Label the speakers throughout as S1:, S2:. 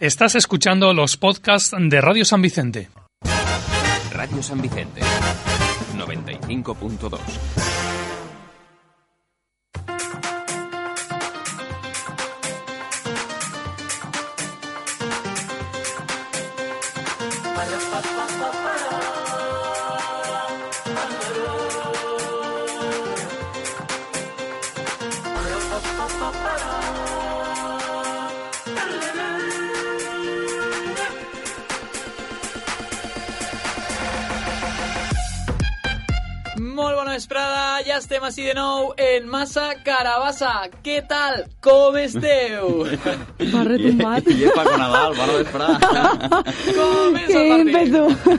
S1: Estás escuchando los podcasts de Radio San Vicente.
S2: Radio San Vicente, 95.2.
S3: Molt bona vesprada, ja estem així de nou en Massa Carabassa. Què tal? Com esteu?
S4: Va retumbat.
S5: I, I és Paco Nadal, bona vesprada.
S3: Com és
S4: ¡Qué
S3: el partit?
S4: ímpetu!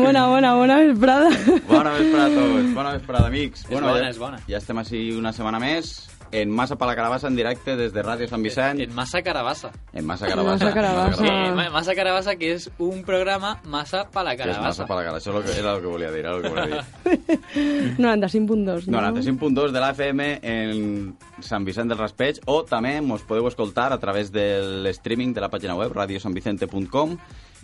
S4: buena, buena, buena vesprada.
S5: Bona vesprada a tots, bona vesprada, amics. És
S3: bona,
S5: ja,
S3: és bona.
S5: Ja estem així una setmana més, en Massa per la Carabassa, en directe des de Ràdio Sant Vicent.
S3: En Massa Carabassa.
S5: En Massa Carabassa.
S4: Massa
S3: Sí,
S4: Carabassa. Ah.
S3: ma- Massa Carabassa, que és un programa massa pa la
S5: Que és
S3: Carabassa.
S5: Massa per la Carabassa, això és lo que- era el que volia dir, era el que volia dir.
S4: 95.2, no?
S5: 95.2 de l'AFM en Sant Vicent del Raspeig o també mos podeu escoltar a través del streaming de la pàgina web radiosanvicente.com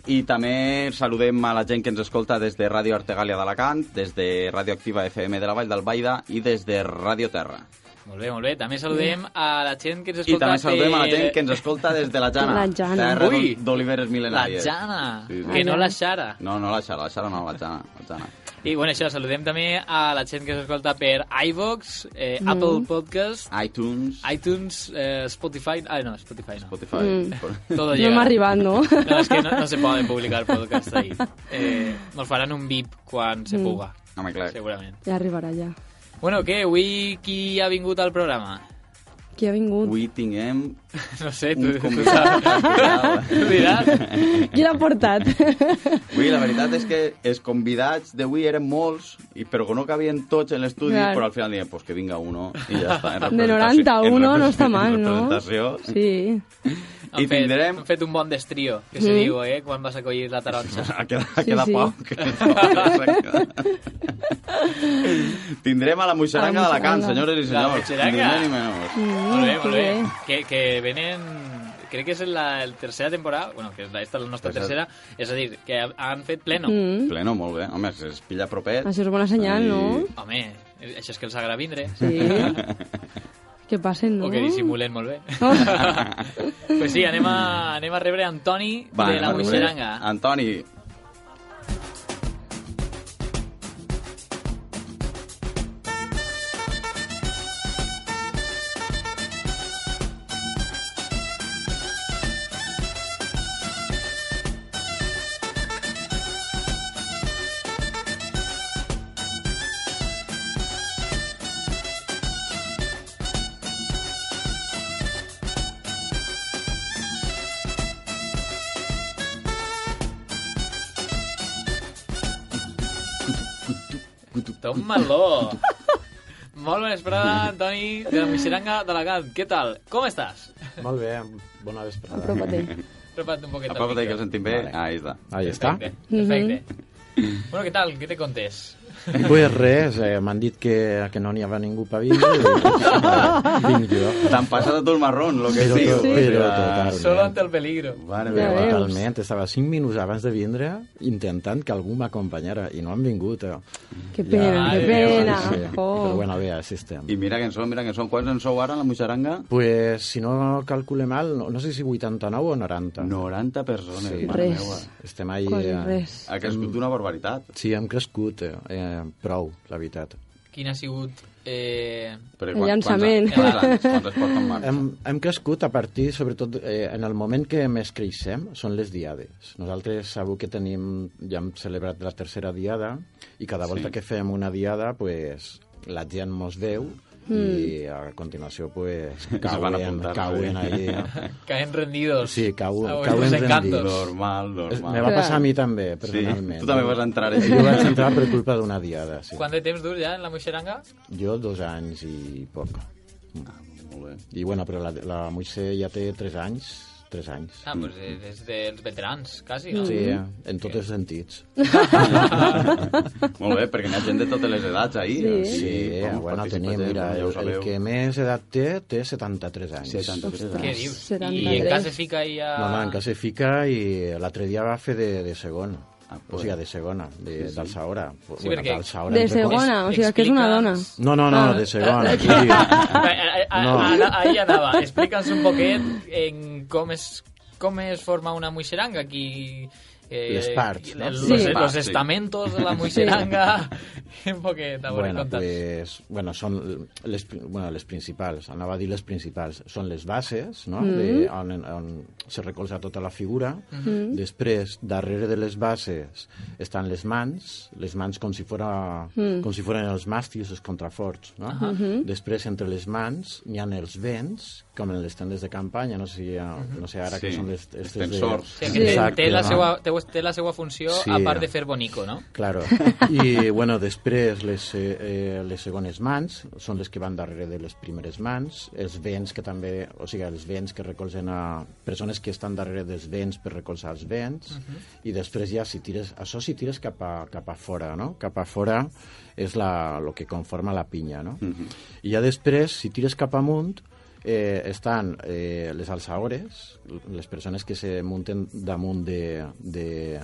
S5: i també saludem a la gent que ens escolta des de Ràdio Artegàlia d'Alacant, des de Ràdio Activa FM de la Vall d'Albaida i des de Ràdio Terra.
S3: Molt bé, molt bé. També saludem a la gent que ens
S5: I
S3: escolta...
S5: també saludem a la
S3: de-
S5: gent que ens escolta des de la Jana,
S4: La Jana.
S5: terra
S3: Ui!
S5: d'Ol- d'Oliveres
S3: La
S5: Mil·lenàries.
S3: Jana,
S5: Sí, sí.
S3: que no la Xara.
S5: No, no la Xara, la Xara no, la Jana. La Jana.
S3: I, bueno, això, saludem també a la gent que ens escolta per iVox, eh,
S4: Mm.
S3: Apple Podcast,
S5: iTunes,
S3: iTunes, eh, Spotify... Ah, no, Spotify no.
S5: Spotify...
S4: Mm.
S3: Todo
S4: No
S3: llega.
S4: m'ha arribat, no?
S3: No, es que no, no se poden publicar podcasts ahí. Eh, nos faran un VIP quan se
S4: Mm.
S3: puga,
S5: Home, clar.
S3: segurament.
S4: Ja arribarà, ja.
S3: Bueno, què? Avui qui ha vingut al programa?
S4: Qui ha vingut?
S5: Avui tinguem
S3: No sé, tu,
S5: un
S3: tu
S5: convidat.
S3: saps. Tu diràs.
S4: Qui
S3: eh,
S4: l'ha portat?
S5: Avui, la veritat és que els convidats d'avui eren molts, i però que no cabien tots en l'estudi,
S4: Clar.
S5: però al final diem, pues que vinga uno, i ja està. En
S4: De
S5: representació-
S4: 91
S5: en
S4: no està
S5: representació-
S4: mal,
S5: en
S4: no?
S5: representació.
S4: Sí.
S3: Han fet,
S5: tindrem-
S3: han fet un bon destrio, que se
S4: Mm.
S3: diu, eh, quan vas a collir la taronja.
S5: Ha quedat, ha
S4: Sí,
S5: quedat
S4: sí.
S5: poc. Tindrem a la
S4: A
S5: Moixeranga
S4: la
S5: d'Alacant,
S4: Moixeranga.
S5: senyors i
S3: La
S5: senyors.
S3: Moixeranga.
S5: Ni més ni menys.
S3: Molt bé,
S4: Mm,
S3: molt
S4: que
S3: bé. Que, que venen... Crec que és la, la tercera temporada, bueno, que és la, esta és la nostra tercera,
S5: Tercera.
S3: és a dir, que han fet pleno.
S4: Mm.
S5: Mm-hmm. Pleno, molt bé. Home, es pilla propet.
S4: Això és bona senyal,
S5: I-
S4: no?
S3: Home, això és que els agrada vindre.
S4: Sí. Que passen, no?
S3: O que dissimulen molt bé.
S4: Oh.
S3: pues sí, anem a, anem a rebre Antoni
S5: Va,
S3: de la
S5: anem a
S3: Moixeranga.
S5: rebre. Antoni,
S3: Toma-lo! Molt bona vesprada, Antoni, de la Moixeranga d'Alacant. Què tal? Com estàs?
S6: Molt bé, bona vesprada.
S4: Apropa-te.
S3: Apropa't un poquet al
S5: apropa que el
S3: micro.
S5: sentim bé. Ahí està.
S6: Ahí està.
S3: Perfecte. Perfecte. Bueno, què tal? Què te contes?
S6: Pues res, eh, m'han dit que, que no n'hi havia ningú per vindre. i, doncs, Vinc jo.
S5: T'han passat a tu el marrón, lo que
S6: Però,
S5: diu.
S6: sí. però totalment.
S3: Solo ante el peligro.
S5: Mare
S4: Ja
S5: meva.
S4: veus.
S6: Totalment, estava 5 minuts abans de vindre intentant que algú m'acompanyara i no han vingut. Eh.
S4: Que pena,
S3: Ai,
S4: que
S3: Déu,
S4: pena.
S6: Sí, sí.
S4: Oh.
S6: Però bueno, bé, així estem.
S5: I mira que en som, mira que en som. Quants en sou ara, en la Moixeranga?
S6: Pues, si no calcule mal, no, no sé si 89 o 90.
S5: 90 persones,
S6: Sí.
S5: mare
S4: Res.
S5: meva.
S6: Estem ahí...
S4: Quasi
S6: eh,
S4: res.
S5: Ha crescut una barbaritat.
S6: Sí, hem crescut, eh, eh, prou, la veritat.
S3: Quin ha sigut... Eh...
S5: Però
S4: El
S5: quan-
S4: llançament.
S5: Quants, quants, anys- quants es porta en marxa?
S6: Hem, hem crescut a partir, sobretot, eh, en el moment que més creixem, són les diades. Nosaltres sabeu que tenim, ja hem celebrat la tercera diada, i cada volta
S5: Sí.
S6: que fem una diada, pues, la gent mos veu, i a continuació pues,
S5: Mm. van
S6: cauen,
S5: apuntar,
S6: cauen
S5: sí.
S6: ahí.
S3: Caen rendidos.
S6: Sí, cauen,
S3: A vuestros
S6: cauen
S3: encantos.
S6: rendidos.
S5: Normal, normal.
S6: Me va
S4: Clar.
S6: passar a mi també,
S5: Sí,
S6: personalment.
S5: tu també vas entrar així.
S6: Jo vaig entrar per culpa d'una diada, sí.
S3: Quant de temps dur ja en la Moixeranga?
S6: Jo dos anys i poc.
S5: Molt bé.
S6: I bueno, però la, la Moixé ja té 3 anys 3 anys.
S3: Ah, doncs eh, des dels veterans, quasi. No?
S6: Mm. Sí, eh. en tots els sentits.
S5: Molt bé, perquè n'hi ha gent de totes les edats ahir.
S4: Sí.
S5: o sigui,
S6: Sí, eh,
S5: com
S6: bueno,
S5: participatiu,
S6: tenim, mira,
S5: ja
S6: el,
S5: ho
S6: el
S5: sabeu.
S6: que més edat té, té 73 anys.
S5: 73
S4: Ostres.
S5: anys.
S3: Què dius?
S4: 73.
S3: I en cas se fica ahí a...
S6: No, no, en casa hi fica i l'altre dia va fer de, de segon.
S5: Ah,
S6: o
S5: pues.
S6: sigui, de segona, de, d'alçaora. Sí,
S3: perquè-
S6: d'alçaora.
S4: De
S6: entre com-
S4: segona, o sigui, que és una dona.
S3: Explica'ns.
S6: No, no, no,
S4: Ah.
S6: de segona. Aquí.
S3: A, a, a,
S6: No.
S3: a, ahí anava. Explica'ns un poquet en com es, com es forma una moixeranga aquí... Eh,
S6: Les parts, no?
S3: Els,
S4: Sí.
S3: sí.
S4: Les
S5: parts,
S3: los
S5: sí.
S3: estamentos de la moixeranga... un poquet, a veure,
S6: Bueno,
S3: conta'n.
S6: pues, bueno, són les, pri- bueno, les principals, anava a dir les principals. Són les bases, no?, de, on, on se recolza tota la figura.
S3: Mm-hmm.
S6: Després, darrere de les bases, estan les mans, les mans com si, fora, com si foren els màstils, els contraforts, no? Després, entre les mans, n'hi ha els vents, com en les tendes de campanya, no sé, no sé ara
S5: Sí,
S6: que són les... estes de-
S5: extensors.
S3: O sigui, que té, Mm-hmm. té, la
S6: no?
S3: seva, té, té la seva funció
S6: Sí.
S3: a part de fer bonico, no?
S6: Claro. I, bueno, després les, eh, eh, les segones mans són les que van darrere de les primeres mans, els vents que també, o sigui, els vents que recolzen a persones que estan darrere dels vents per recolzar els vents, i després ja si tires, això si tires cap a, cap a fora, no? Cap a fora és la, lo que conforma la pinya, no? I ja després, si tires cap amunt, eh, estan eh, les alçaores, les persones que se munten damunt de, de,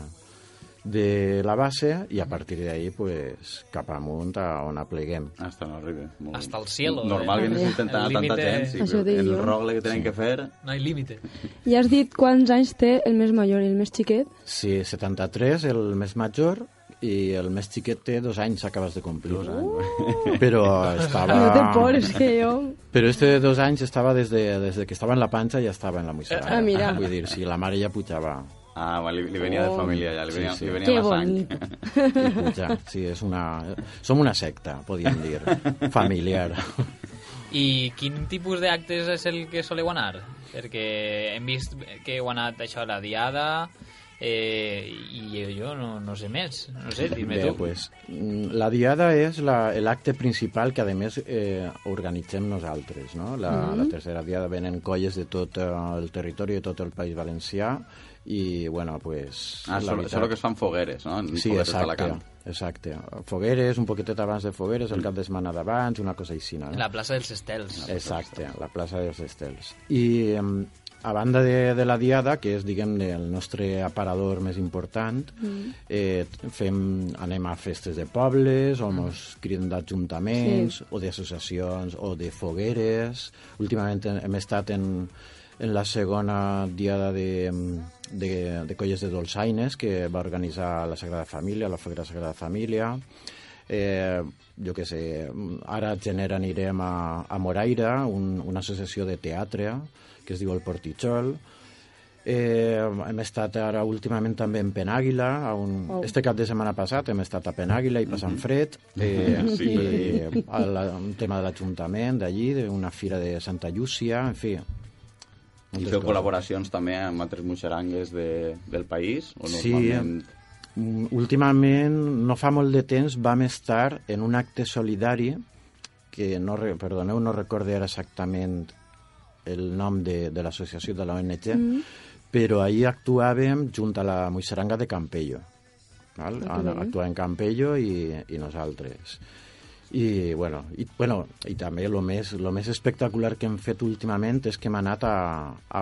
S6: de la base i a partir d'ahí pues, cap amunt a on apleguem.
S5: Hasta Ah, no arriba. Molt
S3: Hasta
S5: bé.
S3: el cielo,
S5: Normal
S3: eh?
S5: que necessiten
S3: El
S5: tanta, tanta
S3: límite-
S5: gent, sí,
S4: Això
S5: però
S4: dic
S5: el
S4: jo.
S5: rogle que tenen que fer...
S3: No hi límite.
S4: Ja has dit quants anys té el més major i el més xiquet?
S6: Sí, 73, el més major, i el més xiquet té dos anys, acabes de complir. Dos anys. Però
S3: Ah,
S6: estava...
S4: No té por, és que jo...
S6: Però este de dos anys estava des, de, des de que estava en la panxa ja estava en la
S4: Ah,
S6: moixerada.
S4: mira.
S6: Vull dir, si la mare ja pujava.
S5: Ah, va, li, li venia
S4: Oh.
S5: de família ja, li venia,
S6: sí.
S5: li venia
S4: Que
S5: la sang.
S4: bonic.
S6: I puja. Sí, és una... Som una secta, podríem dir. Familiar.
S3: I quin tipus d'actes és el que soleu anar? Perquè hem vist que heu anat això a la diada eh, i jo, jo no, no sé més. No sé, dir-me
S6: Bé,
S3: tu.
S6: pues, mm, la diada és la- l'acte principal que, a més, eh, organitzem nosaltres. No? La, mm -hmm. la tercera diada venen colles de tot eh, el territori, de tot el País Valencià, i, bueno, pues...
S5: Ah, solo, solo que es fan fogueres, no? En
S6: Sí,
S5: fogueres a la
S6: exacte,
S5: camp.
S6: exacte. Fogueres, un poquetet abans de fogueres, el cap de setmana d'abans, una cosa així, no?
S3: La plaça dels Estels.
S6: Exacte, la plaça dels Estels. I em, a banda de, de la Diada, que és, diguem el nostre aparador més important, eh, fem, anem a festes de pobles, o ens criden d'ajuntaments, o d'associacions, o de fogueres. Últimament hem- hem estat en, en la segona Diada de, em, de, de Colles de Dolçaines, que va organitzar la Sagrada Família, la Foguera Sagrada Família, eh, jo què sé, ara al gener anirem a, a Moraira, un, una associació de teatre que es diu El Portitxol, Eh, hem estat ara últimament també en Penàguila, a un...
S4: Oh.
S6: este cap de setmana passat hem estat a Penàguila i passant fred, eh,
S5: Sí,
S6: i a la, un tema de l'Ajuntament d'allí, d'una fira de Santa Llúcia, en fi.
S5: I
S6: moltes
S5: feu
S6: coses.
S5: col·laboracions també amb altres muixerangues de, del país? O
S6: Sí.
S5: normalment-
S6: Mm, Últimament, no fa molt de temps, vam estar en un acte solidari que, no, re- perdoneu, no recorde ara exactament el nom de, de l'associació de l'ONG, mm. però ahir actuàvem junt a la Moixeranga de Campello. Val?
S4: Ah, que
S6: Actuàvem Campello i, i nosaltres. I, bueno, i, bueno, i també el més, lo més espectacular que hem fet últimament és que hem anat a, a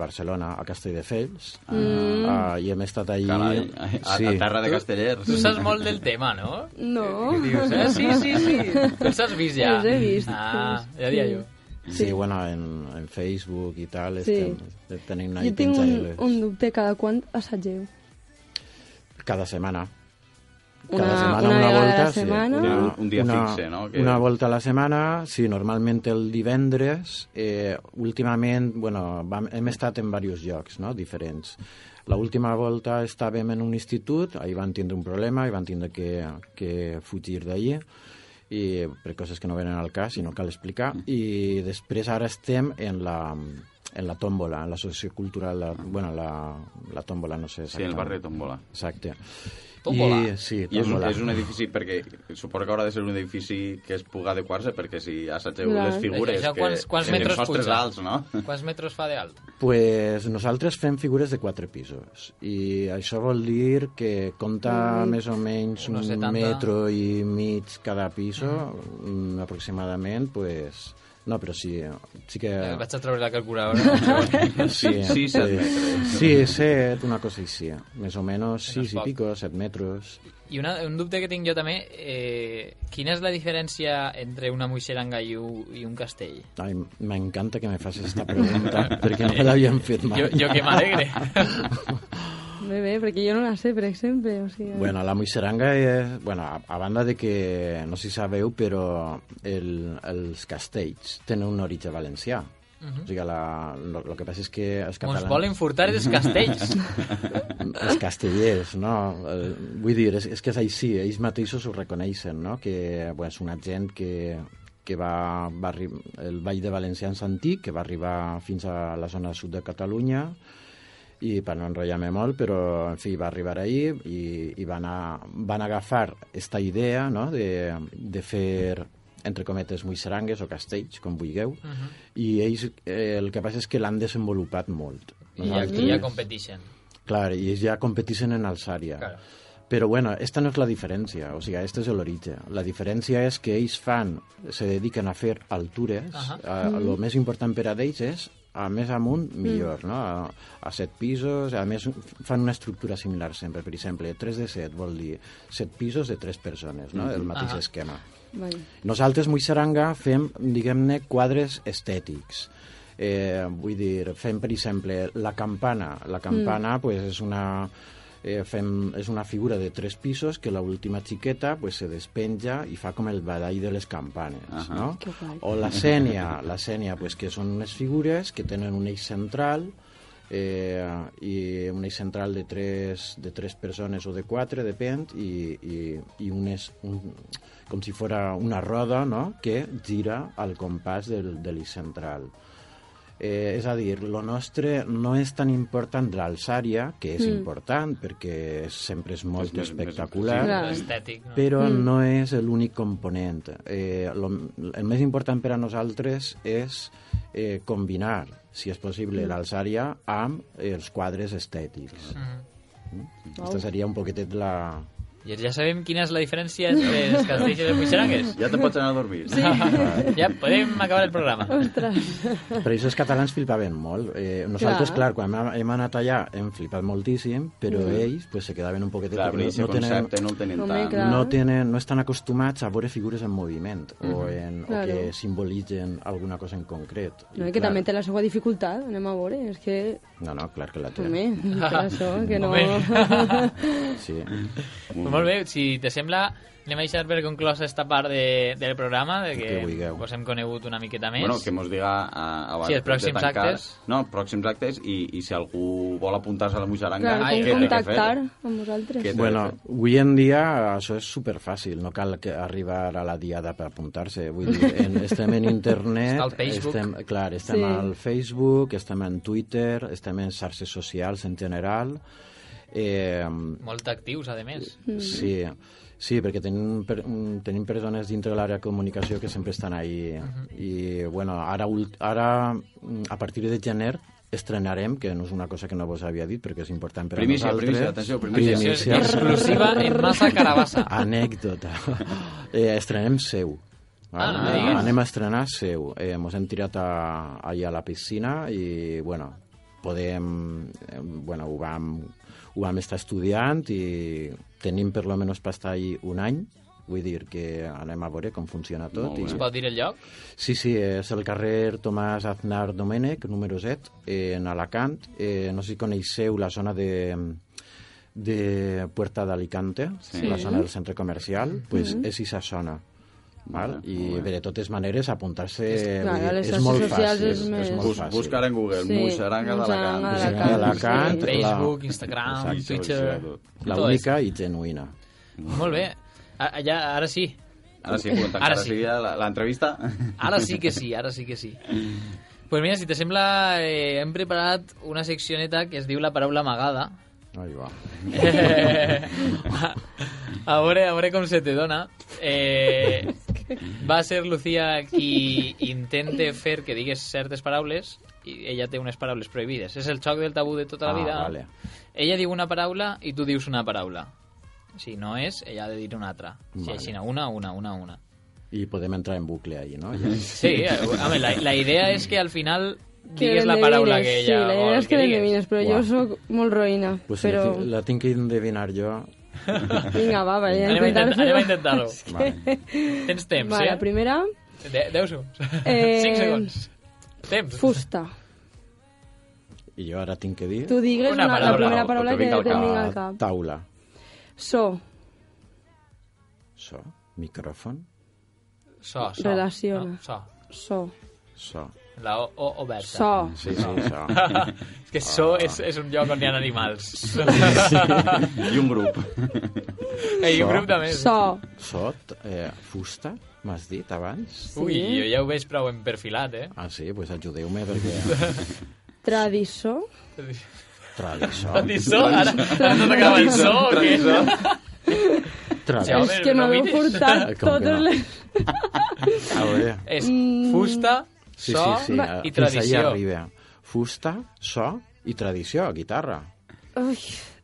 S6: Barcelona, a Castelldefels, mm. a, i hem estat allí...
S5: Carai, a, a, a terra de Castellers.
S3: Tu saps molt del tema, no?
S4: No.
S3: I Dius, eh? Sí, sí, sí. Tu els has vist ja.
S4: Els he vist.
S3: Ah, ja dia jo.
S6: Sí, bueno, en, en Facebook i tal,
S4: Sí.
S6: estem, tenim una
S4: Jo tinc un, un dubte, cada quant assageu?
S6: Cada setmana.
S4: Una- una vegada a la setmana.
S5: Un- un dia fixe, no? Que-
S6: Que... Una volta a la setmana, sí, normalment el divendres. Eh, últimament, bueno, vam, hem estat en diversos llocs, no?, diferents. La última volta estàvem en un institut, ahir van tindre un problema i van tindre que, que fugir d'allí
S5: Mm.
S6: i per coses que no venen al cas i no cal explicar i després ara estem en la, en la tómbola, en l'associació cultural, la, bueno, la, la tómbola, no sé.
S5: Sí, el barri de Tombola.
S6: Exacte.
S3: Tómbola.
S6: I, sí,
S5: I és un,
S6: tómbola.
S5: és un edifici, perquè suposo que haurà de ser un edifici que es puga adequar-se, perquè si assaigeu
S4: Clar.
S5: les figures...
S3: Això quants-
S5: que,
S3: quants
S5: que
S3: metres
S5: els sostres
S3: puja?
S5: alts, no?
S3: Quants metres fa de alt?
S6: Pues nosaltres fem figures de quatre pisos i això vol dir que compta més o menys un
S3: Unos 70.
S6: metro i mig cada piso, mm, aproximadament, pues... No, però sí, sí que...
S3: Eh, Vaig a treure la calculadora.
S6: Sí, eh.
S5: Sí, set metres.
S6: Sí, set, una cosa així. Més o menys sis i
S3: poc.
S6: pico, set metros.
S3: I una, un dubte que tinc jo també, eh, quina és la diferència entre una moixeranga i un, i un castell?
S6: Ai, m'encanta que me facis esta pregunta, perquè no me l'havien fet mai.
S3: Jo, jo que m'alegre.
S4: Bé, bé, perquè jo no la sé, per exemple. O sigui,
S6: Bueno, la muixeranga és... Bueno, a, a banda de que, no sé si sabeu, però el, els castells tenen un origen valencià. O sigui, la, lo, lo que passa és que els
S3: Mhm. Mos
S6: catalans...
S3: volen furtar els castells.
S6: Els castellers, no? Eh, Vull dir, és, és que és així, ells mateixos ho reconeixen, no? Que bueno, és una gent que, que va, va arri- el Vall de Valencians antic, que va arribar fins a la zona sud de Catalunya, i per no enrotllar-me molt, però en fi, va arribar ahir i, i van, a, van agafar esta idea no? de, de fer entre cometes muixerangues o castells, com vulgueu,
S3: Mm.
S6: i ells eh, el que passa és que l'han desenvolupat molt.
S3: I aquí ja competeixen.
S6: Clar, i ells ja competeixen en alçària.
S3: Claro.
S6: Però bueno, esta no és la diferència, o sigui, este és l'origen. La diferència és que ells fan, se dediquen a fer altures,
S3: Ahà.
S6: a, a, lo més important per a ells és a més amunt, millor, no? A, a set pisos, a més fan una estructura similar sempre, per exemple, 3 de 7 vol dir 7 pisos de 3 persones, no? El mateix
S3: Mm-hmm. Ahà.
S6: esquema.
S4: Vale.
S6: Nosaltres, Moixeranga, fem, diguem-ne, quadres estètics. Eh, vull dir, fem, per exemple, la campana. La campana,
S4: Mm.
S6: pues, és una... Eh, fem, és una figura de tres pisos que la última xiqueta pues, se despenja i fa com el badall de les campanes, uh -huh. no?
S4: Que guai.
S6: O la sènia, la sènia, pues, que són unes figures que tenen un eix central eh, i un eix central de tres, de tres persones o de quatre, depèn, i, i, i un és un, com si fora una roda no? que gira al compàs del, de l'eix central. Eh, és a dir, lo nostre no és tan important l'alçària, que és mm. important perquè sempre és molt
S5: És més- més
S6: espectacular,
S4: impressiva. Clar.
S3: Estètic, no?
S6: però
S4: Mm.
S6: no és l'únic component. Eh, lo, el més important per a nosaltres és eh, combinar, si és possible,
S4: Mm.
S6: l'alçària amb els quadres estètics.
S3: Mhm.
S6: Aquesta seria un poquetet la...
S3: I ja sabem quina és la diferència entre els castells i les moixerangues.
S5: Ja te'n pots anar a dormir.
S4: Sí.
S3: Ja podem acabar el programa.
S4: Ostres.
S6: Però això els catalans flipaven molt. Eh, nosaltres, clar,
S4: Clar.
S6: quan hem- hem anat allà hem flipat moltíssim, però
S4: Mm.
S6: ells pues, se quedaven un poquetet...
S5: Clar,
S6: perquè
S5: però aquest concepte no el tenen
S4: Home,
S5: tant.
S4: clar.
S6: no, tenen, no estan acostumats a veure figures en moviment o, en, o
S4: Mm. Claro.
S6: que simbolitzen alguna cosa en concret.
S4: No,
S6: I
S4: i que
S6: clar-
S4: també té la seva dificultat, anem a veure. És que,
S6: No, no, clar que la té.
S4: home, per això, que no...
S3: Home.
S6: Sí.
S3: Molt, molt bé, si te sembla, anem a deixar per conclosa esta part de, del programa, de que,
S6: Que vulgueu.
S3: us hem conegut una miqueta més.
S5: Bueno, que mos diga a, abans
S3: Sí, els pròxims
S5: de tancar.
S3: actes.
S5: No, pròxims actes i, i si algú vol apuntar-se a la Moixaranga,
S4: Clar,
S3: Ah,
S4: com
S3: què-
S5: té que
S4: contactar
S5: fer?
S4: amb vosaltres.
S5: Què-
S6: Bueno, avui en dia això és superfàcil, no cal que arribar a la diada per apuntar-se. Vull dir, en, estem en internet,
S3: Està al Facebook.
S6: estem, clar, estem
S4: Sí.
S6: al Facebook, estem en Twitter, estem en xarxes socials en general. Eh,
S3: Molt actius, a més.
S6: sí, sí, perquè tenim, per, mm, tenim persones dintre de l'àrea de comunicació que sempre estan ahí.
S3: Mhm.
S6: I, bueno, ara, ult- ara mm, a partir de gener estrenarem, que no és una cosa que no vos havia dit, perquè és important per
S5: Primícia,
S6: a nosaltres.
S5: primícia, atenció, primícia.
S3: Atenció, exclusiva en massa carabassa.
S6: Anècdota. Eh, estrenem seu.
S3: Ah, no me diguis.
S6: Anem a estrenar seu. Eh, mos hem tirat a, allà a la piscina i, bueno, podem... eh, Bueno, ho vam, ho vam estar estudiant i tenim per lo menos per estar ahí un any. Vull dir que anem a veure com funciona tot.
S5: Molt
S6: I,
S5: bé.
S3: Es pot dir el lloc?
S6: Sí, sí, és el carrer Tomàs Aznar Domènech, número 7, eh, en Alacant. Eh, no sé si coneixeu la zona de, de Puerta d'Alicante, sí. la zona del centre comercial, doncs pues
S4: Mm-hmm.
S6: és aquesta zona. Val?
S5: Molt bé,
S6: I
S5: molt bé.
S6: bé, de totes maneres, apuntar-se
S4: clar,
S6: vull dir,
S4: a les
S6: és
S4: xarxes
S6: molt
S4: socials
S6: fàcil.
S4: és més-
S6: molt
S5: Bus,
S6: fàcil.
S5: buscar en Google,
S4: Sí,
S5: sí. Moixaranga d'Alacant.
S4: Moixaranga
S6: d'Alacant. Moixaranga d'Alacant.
S3: Facebook,
S6: la-
S3: Instagram,
S5: Exacte,
S3: Twitter...
S5: tot.
S6: La
S3: tot
S6: única i genuïna.
S3: això. Molt bé. A- Allà, ara sí.
S5: Ara sí, quan
S3: Ara
S5: tancarà
S3: sí.
S5: sí. eh, l'entrevista...
S3: Ara sí que sí, ara sí que sí. Pues mira, si te sembla, eh, hem preparat una seccioneta que es diu la paraula amagada.
S6: Ahí va.
S3: a, a veure, a veure com se te dona. Eh, va ser Lucía qui intente fer que digues certes paraules i ella té unes paraules prohibides. És el xoc del tabú de tota la
S6: Ah,
S3: vida.
S6: vale.
S3: Ella diu una paraula i tu dius una paraula. Si no és, ella ha de dir una altra. Si
S6: Vale.
S3: així, una, una, una, una.
S6: Y podemos entrar en bucle ahí, ¿no?
S4: Mm-hmm.
S3: Sí, a ver, la, la idea és que al final
S4: Que
S3: digues la paraula que
S4: l'endevines,
S3: ella
S4: Sí, la idea
S3: vol
S4: és que
S3: digues.
S4: l'endevines, però
S6: Uah.
S4: jo sóc molt roïna.
S6: Pues
S4: però...
S6: la, la tengo que adivinar yo.
S4: Vinga, va, va,
S3: Anem a intentar-
S4: intentar-ho.
S3: anem a intentar-ho.
S6: Vale.
S3: Tens temps,
S4: Va,
S3: eh?
S4: la primera,
S3: De, 10 segons.
S4: Eh,
S3: 5 segons. Temps.
S4: fusta.
S6: Y yo ahora tengo que decir...
S4: Tu digues
S3: Una
S4: una,
S3: paraula,
S4: la primera
S5: el
S4: paraula
S5: que
S4: que,
S5: vingui al
S4: que et
S5: cap.
S4: vingui al
S6: Ah,
S4: cap.
S6: Taula.
S4: So,
S6: So. Micrófono.
S3: So, so.
S4: Relaciona.
S3: No, so.
S4: so,
S6: So.
S3: La O, o oberta.
S4: so.
S6: Sí, sí, so.
S3: És que so és, és un lloc on hi ha animals.
S5: I un grup.
S3: Ei, un grup de més.
S4: So,
S6: Sot, eh, fusta, m'has dit abans?
S3: Ui, jo ja ho veig prou emperfilat, eh?
S6: Ah, sí? Doncs pues ajudeu-me perquè...
S4: tradiçó,
S6: Tradiçó.
S3: Tradiçó? Ara, ara no t'acaba el so o què?
S6: Tradiçó.
S3: Home,
S4: és que
S3: no
S4: m'haveu
S3: miris.
S6: Eh,
S4: portat
S6: com que
S4: totes
S6: no?
S4: les...
S6: A veure.
S3: És fusta,
S6: Sí,
S3: so
S6: sí, sí. eh,
S3: i
S6: Fins allà
S3: tradició.
S6: arriba. Fusta, so i tradició, guitarra.
S4: Ui,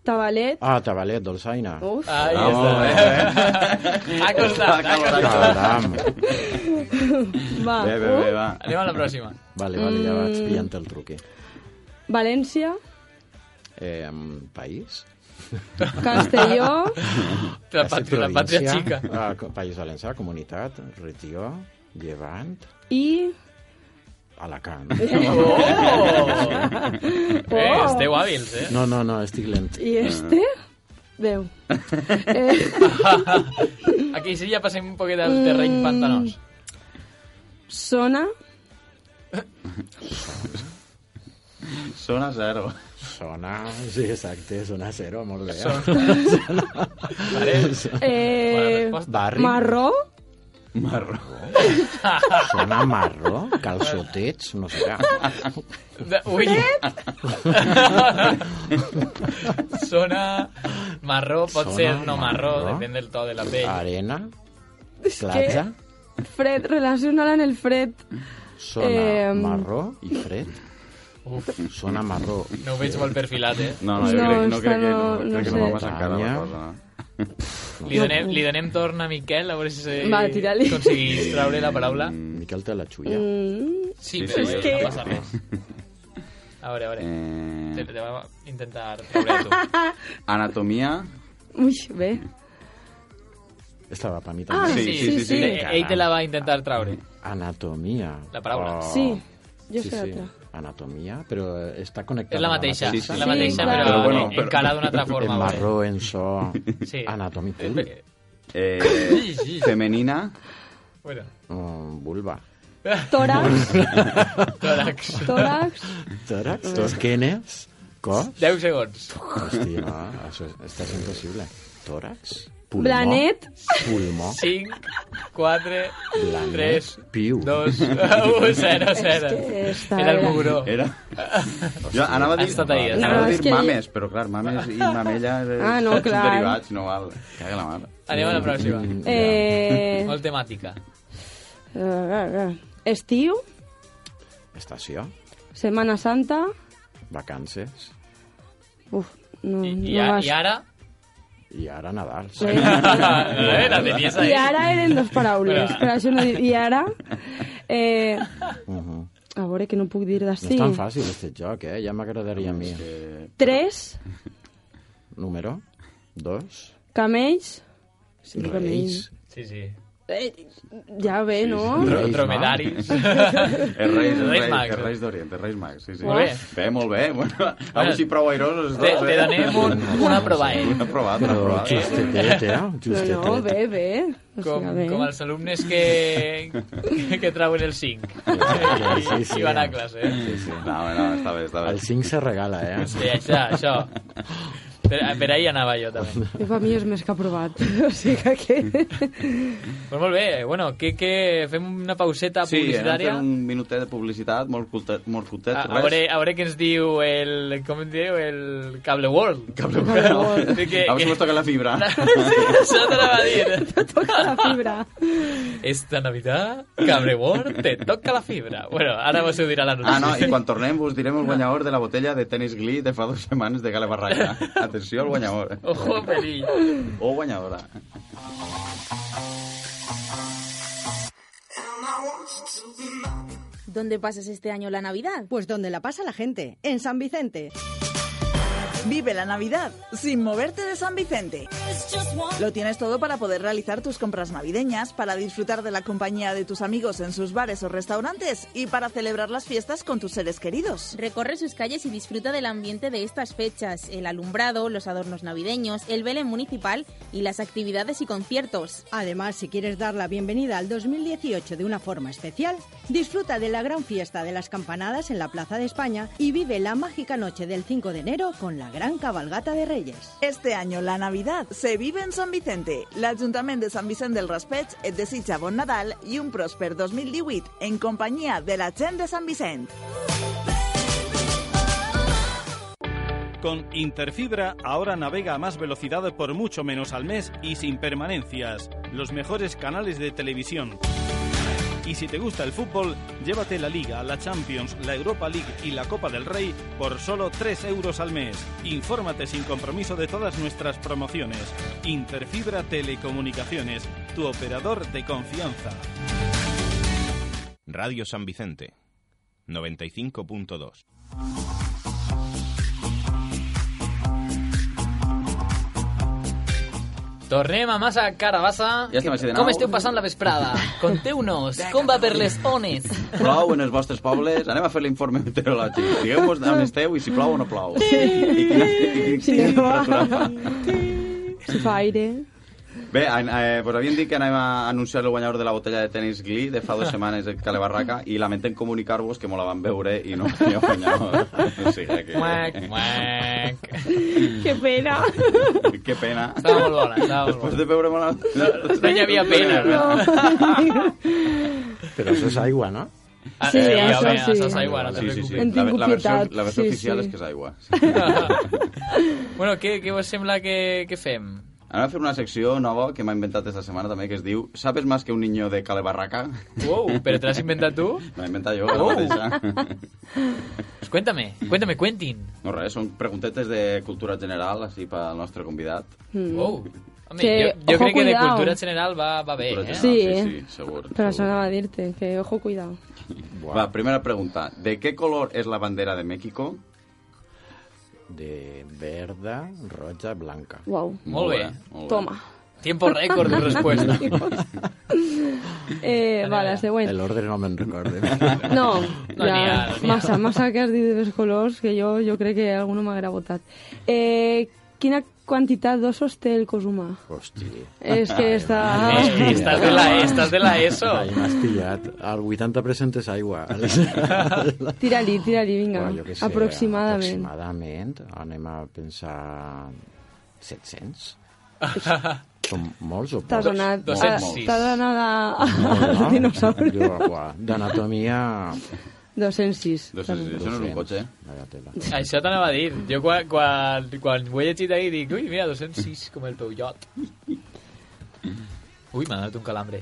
S4: tabalet.
S6: Ah, tabalet, dolçaina.
S4: Uf,
S3: Ahí
S5: Vamos,
S6: eh?
S3: està.
S5: eh?
S3: Ha costat, ha costat.
S6: Caram.
S4: va.
S5: Bé, bé, bé, va.
S3: Uh, Anem a la pròxima.
S6: Vale, vale, ja vaig
S3: Mm.
S6: pillant el eh. truqui.
S4: València,
S6: Eh, país?
S4: Castelló,
S3: La
S6: Quasi
S3: pàtria, la pàtria
S6: província.
S3: xica.
S6: Ah, co- país Valencià, comunitat, regió, llevant,
S4: i...
S6: Alacant.
S3: Oh! Eh, esteu hàbils, eh?
S6: No, no, no, estic lent.
S4: I este? Déu. Eh,
S3: Aquí sí ja passem un poquet al terreny pantanós.
S4: zona,
S5: Sona zero.
S6: Sona, sí, exacte, sona zero, molt bé. eh?
S3: Bona
S4: eh,
S3: resposta.
S6: Barri,
S4: marró,
S6: sona marró, calçotets, no sé
S3: Ah,
S6: què.
S3: De- Ui! Sona marró, pot
S6: Sona
S3: ser no marró,
S6: marró.
S3: depèn del to de la pell.
S6: Arena,
S4: és
S6: platja,
S4: fred, relaciona-la en el fred.
S6: sona
S4: Eh,
S6: marró i fred. Sona marró.
S3: No ho veig molt perfilat, eh?
S5: No, no, jo
S4: No,
S5: crec, no
S4: esta
S5: crec que no,
S4: no- no
S5: crec que no
S4: sé.
S5: va massa encara la
S6: Tanya.
S5: cosa.
S3: Li donem, li donem torn a Miquel, a veure si se-
S4: Va, tira-li.
S3: aconseguís traure la paraula.
S6: Miquel té la xulla.
S4: Mm,
S3: Sí,
S5: Sí,
S3: però
S5: sí,
S3: no
S5: sí.
S3: passa res. A veure, a veure. Te,
S5: Eh,
S3: te va intentar traure tu.
S5: anatomia.
S4: ui, bé.
S6: Estava per mi
S4: Ah,
S6: també.
S5: Sí, sí, sí, sí.
S3: Eh, Ell te la va intentar traure.
S6: Anatomia.
S3: Ah. La paraula.
S4: Sí, jo sé
S6: Oh. sí.
S4: l'altra.
S6: Anatomia, però eh, està connectada.
S3: És la
S6: amb
S3: mateixa,
S5: Sí, sí,
S3: és la
S5: sí,
S3: mateixa,
S4: clar.
S3: però,
S5: Però bueno, però-
S3: encara d'una altra forma.
S6: en
S3: vale.
S6: marró, en so,
S3: Sí.
S6: anatomy pur,
S3: Eh,
S5: Eh,
S3: Sí, sí.
S5: femenina.
S3: Bueno.
S6: mm, vulva,
S4: Tòrax,
S3: Tòrax.
S4: tòrax,
S6: tòrax, esquenes, cos,
S3: 10 segons.
S6: hòstia, no, això és, està sent impossible, tòrax, pulmó,
S4: Blanet.
S6: pulmó,
S3: 5, 4,
S6: Blanet,
S3: 3,
S6: piu.
S3: 2, 1, 0, 0.
S4: que està
S3: Era el
S4: bé.
S3: mugró.
S5: Era... Jo anava a dir,
S3: Has estat ahí, has
S5: anava
S4: estat
S5: a
S4: ahí.
S5: dir mames, però clar, mames i mamella eh,
S4: Ah, no,
S5: són
S4: clar.
S5: derivats, no val. Caga la mare.
S3: Anem a la pròxima.
S4: eh,
S3: Molt temàtica.
S4: eh, estiu,
S6: estació,
S4: Setmana Santa,
S6: vacances,
S4: uf, no,
S3: I, i,
S4: no
S3: a,
S4: vas.
S3: i ara?
S6: i ara Nadal.
S3: Eh, la tenies ahí.
S4: I ara eren dos paraules,
S3: Espera.
S4: per això no dic. I ara... Eh,
S6: Uh -huh.
S4: a veure, que no puc dir
S6: No
S4: d'ací.
S6: és tan fàcil, este joc, eh? Ja m'agradaria a mi.
S5: Eh,
S4: Tres
S6: Número, dos,
S4: camells... Sí,
S6: reis,
S3: Sí, sí.
S4: Eh, ja bé, no?
S6: Reis,
S3: Tro-
S6: no?
S3: Dromedaris.
S5: Els reis, els
S3: Reis
S5: reis,
S3: Mags.
S5: els reis d'Orient, els reis mags, sí, sí.
S3: Molt bé.
S5: Bé, molt bé. Bueno, avui sí prou airosos. els
S3: Te,
S5: dos,
S3: te
S5: eh?
S3: donem un, una prova, eh?
S5: Un aprovat, un
S6: però
S5: aprovat.
S6: justetet, eh?
S4: No,
S6: Justetet.
S4: no, bé, bé. O
S3: Com,
S4: siga, bé.
S3: com els alumnes que, que trauen el 5
S6: Sí, sí.
S3: i van a classe. Eh?
S5: No, no, està bé, està bé.
S6: El 5 se regala, eh?
S3: Sí, això, això. Per, per ahir anava jo també.
S4: Jo fa mi és més que aprovat. O sigui que aquí...
S3: Pues molt bé, bueno, que, que fem una pauseta
S5: Sí, hem
S3: publicitària. Ah,
S5: fet un minutet de publicitat, molt curtet, molt curtet
S3: A, a,
S5: res.
S3: veure, a veure què ens diu el... Com en diu? El Cable World.
S5: Cable
S4: Cable World.
S3: Sí, que-
S5: A veure si mos toca la fibra.
S3: Sí, Això t'anava a dir.
S4: Toca la fibra.
S3: Esta Navidad, Cable World, te toca la fibra. Bueno, ara vos ho dirà la notícia.
S5: Ah, no, i quan tornem us direm el guanyador de la botella de tenis Glee de fa dues setmanes de Gale Barraca. Atenció al guanyador. eh?
S3: Ojo, perill.
S5: O guanyadora.
S7: ¿Dónde pasas este año la Navidad?
S8: Pues donde la pasa la gente, en San Vicente. Vive la Navidad sin moverte de San Vicente. Lo tienes todo para poder realizar tus compras navideñas, para disfrutar de la compañía de tus amigos en sus bares o restaurantes y para celebrar las fiestas con tus seres queridos.
S7: Recorre sus calles y disfruta del ambiente de estas fechas, el alumbrado, los adornos navideños, el Belén municipal y las actividades y conciertos.
S9: Además, si quieres dar la bienvenida al 2018 de una forma especial, disfruta de la gran fiesta de las campanadas en la Plaza de España y vive la mágica noche del 5 de enero con la gran cabalgata de Reyes.
S8: Este año la Navidad se vive en San Vicente. L'Ajuntament de Sant Vicent del Raspeig et desitja bon Nadal i un pròsper 2018 en companyia de la gent de Sant Vicent.
S10: Con Interfibra ahora navega a más velocidad por mucho menos al mes y sin permanencias. Los mejores canales de televisión. Y si te gusta el fútbol, llévate la Liga, la Champions, la Europa League y la Copa del Rey por solo 3 euros al mes. Infórmate sin compromiso de todas nuestras promociones. Interfibra Telecomunicaciones, tu operador de confianza.
S11: Radio San Vicente, 95.2.
S3: Tornem a massa carabassa.
S5: Ja estem així de nou.
S3: Com esteu passant la vesprada? Conteu-nos, com va per les ones?
S5: Plou en els vostres pobles, anem a fer l'informe meteorològic. Digueu-vos on esteu i si plou o no plou. I quina, i quina
S4: Sí.
S5: temperatura fa.
S4: Si fa aire...
S5: Bé, an- eh, pues havíem dit que anem a anunciar el guanyador de la botella de tenis Glee de fa dues setmanes en Cale Barraca i lamentem comunicar-vos que me la van veure i no tenia guanyador. O sigui
S3: Muac,
S5: que...
S3: muac.
S4: Que pena.
S5: Que pena.
S3: Estava molt bona, estava molt
S5: Després
S3: bona.
S5: de veure-me la...
S3: No hi havia pena.
S6: Però això és aigua, no?
S3: Ah,
S4: Sí,
S3: eh,
S4: això
S3: bé,
S4: sí.
S3: Això és aigua, no te
S5: sí, sí, sí.
S3: preocupis.
S4: En
S5: La, la versió,
S4: tinc
S5: la versió
S4: sí, sí.
S5: oficial és que és aigua. Sí.
S3: Bueno, què, què vos sembla que, que fem?
S5: Anem a fer una secció nova que m'ha inventat esta setmana també, que es diu ¿Sabes más que un niño de Cale Barraca?
S3: Wow, però te l'has inventat tu?
S5: Me l'he inventat jo,
S3: Oh!
S5: la mateixa.
S3: Pues cuéntame, cuéntame, Quentin.
S5: No res, són preguntetes de cultura general, així pel nostre convidat.
S3: Wow. Home,
S4: Mm. Que,
S3: jo, jo
S4: ojo,
S3: crec que de
S4: cuidao.
S3: cultura general va, va bé, eh?
S5: Cultura general,
S4: Sí,
S5: sí,
S4: eh.
S5: sí, segur.
S4: Però això
S5: segur.
S4: anava a dir-te, que ojo, cuidado.
S5: Va, primera pregunta. ¿De qué color es la bandera de México?
S6: De verda, roja, blanca.
S4: Wow.
S3: Molt bé.
S5: molt
S4: Toma.
S3: Tiempo récord de respuesta.
S4: Eh, va, la següent.
S6: L'ordre no me'n recordo.
S4: No,
S3: No n'hi
S4: ja,
S3: ha, no n'hi ha.
S4: massa, massa que has dit dels colors que jo, jo crec que algú no m'haguera votat. Eh, quina quantitat d'ossos té el cos humà?
S6: Hòstia.
S4: És que està...
S3: Eh, estàs, de la, estàs de la ESO.
S6: Ai, m'has pillat. El 80% és aigua. Vinga,
S4: Tira-li, tira-li, vinga,
S6: jo què sé,
S4: aproximadament.
S6: Aproximadament. Anem a pensar... 700? Són molts o
S4: T'has
S6: pocs?
S4: anat,
S3: Dos-
S4: a-
S3: 206.
S4: t'has anat a,
S6: Molt,
S4: a
S6: no?
S4: dinosaures.
S6: Jo, uah, D'anatomia...
S4: 206.
S5: Dos, sí, sí, això no és un
S6: 200.
S5: cotxe, eh?
S6: Vaya tela.
S3: Això t'anava a dir. Jo quan, quan, quan ho he llegit ahir dic, ui, mira, 206, com el teu iot. Ui, m'ha donat un calambre.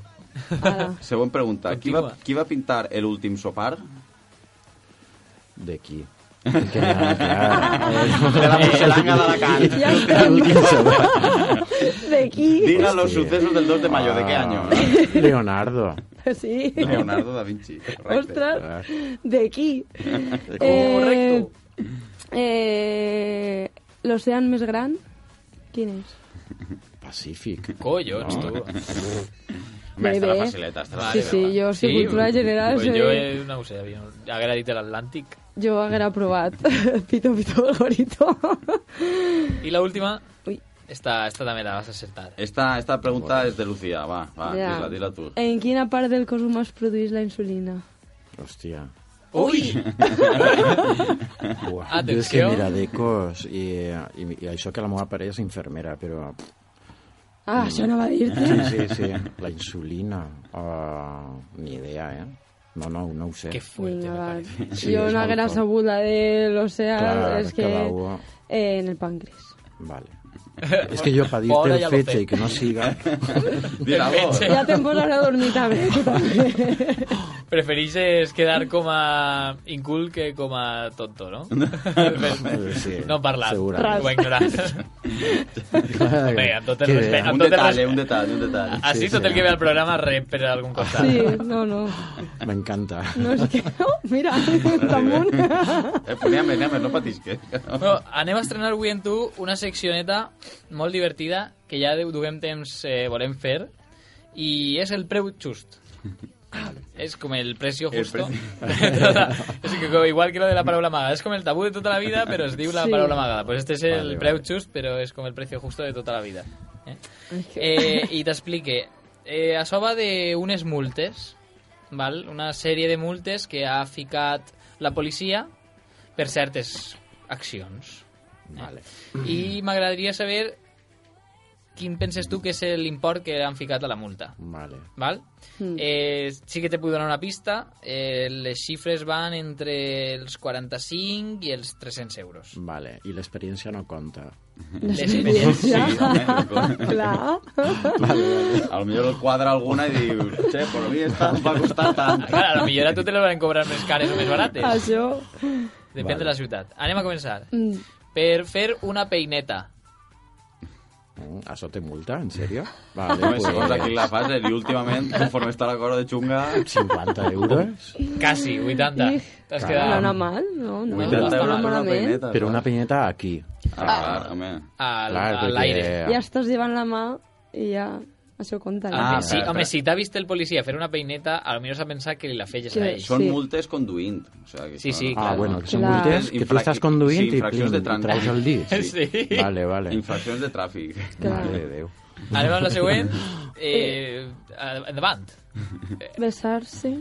S4: Ara.
S5: Següent pregunta. Qui va,
S3: Continua.
S5: qui va pintar el últim sopar?
S6: De qui? Que, clar,
S5: De la porcelana d'Alacant.
S4: Ja estem. De qui?
S5: Diga los
S6: Hòstia.
S5: sucesos del 2 de mayo. ¿De
S3: Ah.
S5: qué año?
S6: eh? Leonardo.
S4: Sí.
S5: Leonardo da Vinci. correcte.
S4: Ostres, de qui?
S3: Correcto.
S4: eh, L'ocean més gran, quin és?
S6: Pacífic.
S3: Collons, tu.
S4: Bé,
S5: Home, està la
S4: bé.
S5: facileta. Està la
S4: Sí,
S5: facileta.
S4: sí, jo sí, cultura general
S3: Pues
S4: soy-
S3: jo eh, no ho sé, havia, haguera dit l'Atlàntic.
S4: Jo haguera provat. Pito, pito, gorito.
S3: I l'última,
S4: Ui.
S3: esta, esta també la vas acertar.
S5: Esta, esta pregunta és de Lucía, va, va,
S4: Ja.
S5: dis-la, dis-la tu.
S4: En quina part del cos humà es produeix la insulina?
S6: Hòstia.
S3: Uy!
S6: Buah, jo és que
S3: Atenció.
S6: mira, d'ecos, i, i, i això que la meva parella és infermera, però...
S4: Ah, això anava a dir-te.
S6: Sí, sí, sí. La insulina, uh, ni idea, eh? No, no, no ho sé.
S3: Qué fuerte.
S4: Venga,
S3: me
S4: va.
S3: parece.
S6: Sí,
S4: Yo
S6: es
S4: una
S6: alcohol.
S4: grasa aguda del océano
S6: Claro,
S4: es que
S6: cada uno.
S4: eh, en el páncreas.
S6: Vale. És que jo, per
S3: Ahora ya
S6: dir-te el
S3: lo
S6: fetge
S3: sé.
S6: i que no siga...
S5: Dirà vos.
S4: Ya temporada dormita, ¿ves? Tú también.
S3: Preferís es quedar como a incool que como a tonto, ¿no?
S6: sí,
S3: no parlar.
S6: segurament.
S3: O ignorar. Vinga, amb tot el
S6: Que-
S3: respecte.
S5: Un
S3: Amb tot el
S5: detall,
S3: res-
S5: eh, un detall, un detall.
S3: Así
S6: Sí,
S3: todo
S6: sí.
S3: el que vea el programa rep per algun costat.
S4: Sí, no, no.
S6: M'encanta.
S4: No es que. Oh, mira, Tamun.
S5: Eh, pues anem, anem, no patis, que...
S3: Bueno, anem a estrenar avui en tu una seccioneta molt divertida que ja de- duguem temps eh, volem fer i és el preu just. És com el precio
S5: El
S3: justo. Tota, és que com- igual que lo de la paraula amagada. És com el tabú de tota la vida, però es diu la
S4: Sí.
S3: paraula amagada. Pues este és
S6: Vale,
S3: el
S6: vale.
S3: preu just, però és com el precio justo de tota la vida. Eh?
S4: Ai, que-
S3: Eh, I t'explique. Eh, això va d'unes multes, val? una sèrie de multes que ha ficat la policia per certes accions.
S6: Vale.
S3: I m'agradaria saber quin penses tu que és l'import que han ficat a la multa.
S6: Vale.
S3: Val?
S4: Mm.
S3: Eh, sí que te puc donar una pista. Eh, les xifres van entre els 45 i els 300 euros.
S6: Vale, i l'experiència no compta.
S3: Les
S5: Sí,
S3: evidències.
S5: home,
S4: Claro.
S5: a lo millor el quadra alguna i dius, che, por mi esta em va costar tant.
S3: Clar, a la millor a tu te les van cobrar més cares o més barates.
S4: Això.
S3: Depèn de la ciutat. Anem a començar.
S4: mm,
S3: Per fer una peineta.
S6: Mm, Això té multa, en sèrio? Vale, pues,
S5: Home, segons a qui la fas, eh, i últimament, conforme està la cosa de xunga,
S6: 50 euros?
S3: Quasi, 80.
S4: Ih.
S3: T'has
S4: No
S3: quedat
S4: anar mal, no? no
S5: 80
S4: no
S5: euros per una
S4: malament.
S5: peineta.
S6: Però una penyeta aquí. ah,
S5: Ah, clar, home.
S3: al-
S6: Clar,
S3: a l'aire.
S4: Ja estàs llevant la mà i ja... Això compta.
S3: Ah,
S5: Ah,
S3: sí,
S5: espera,
S3: home,
S5: espera.
S3: si t'ha vist el policia fer una peineta, a lo millor s'ha pensat que li la feies
S4: Sí.
S3: a ell.
S5: Són
S4: Sí.
S5: multes conduint. O sea, que
S3: Sí,
S5: això
S3: sí,
S5: no-
S6: Ah,
S3: Clar.
S6: bueno, que són
S4: Clar.
S6: multes que tu
S5: Infracci-
S6: estàs conduint
S5: sí,
S6: i,
S5: infraccions
S6: plim,
S5: de
S6: i
S5: trànsit.
S6: treus el dit.
S3: Sí.
S6: Vale, vale.
S5: Infraccions de tràfic.
S4: Clar.
S6: Mare de Déu.
S3: Anem amb la següent. Eh, eh, endavant.
S4: Besar-se.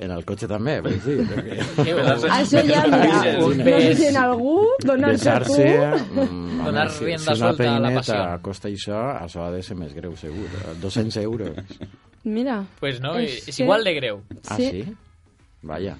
S6: En el cotxe també, vols dir? Perquè
S3: Eh, o-
S4: Això ja, mira,
S5: Besar-se.
S4: no
S3: Pues,
S4: sé si en algú, donar-se a
S6: Besar-se...
S4: tu...
S6: mm,
S3: Donar
S6: home, si-
S3: rienda
S6: si una
S3: solta a la
S6: peineta
S3: passió.
S6: costa això, això ha de ser més greu, segur. 200 euros.
S4: Mira,
S3: Pues no,
S4: És
S3: és, és
S4: que-
S3: igual de greu.
S6: Ah,
S4: Sí.
S6: sí? Vaya.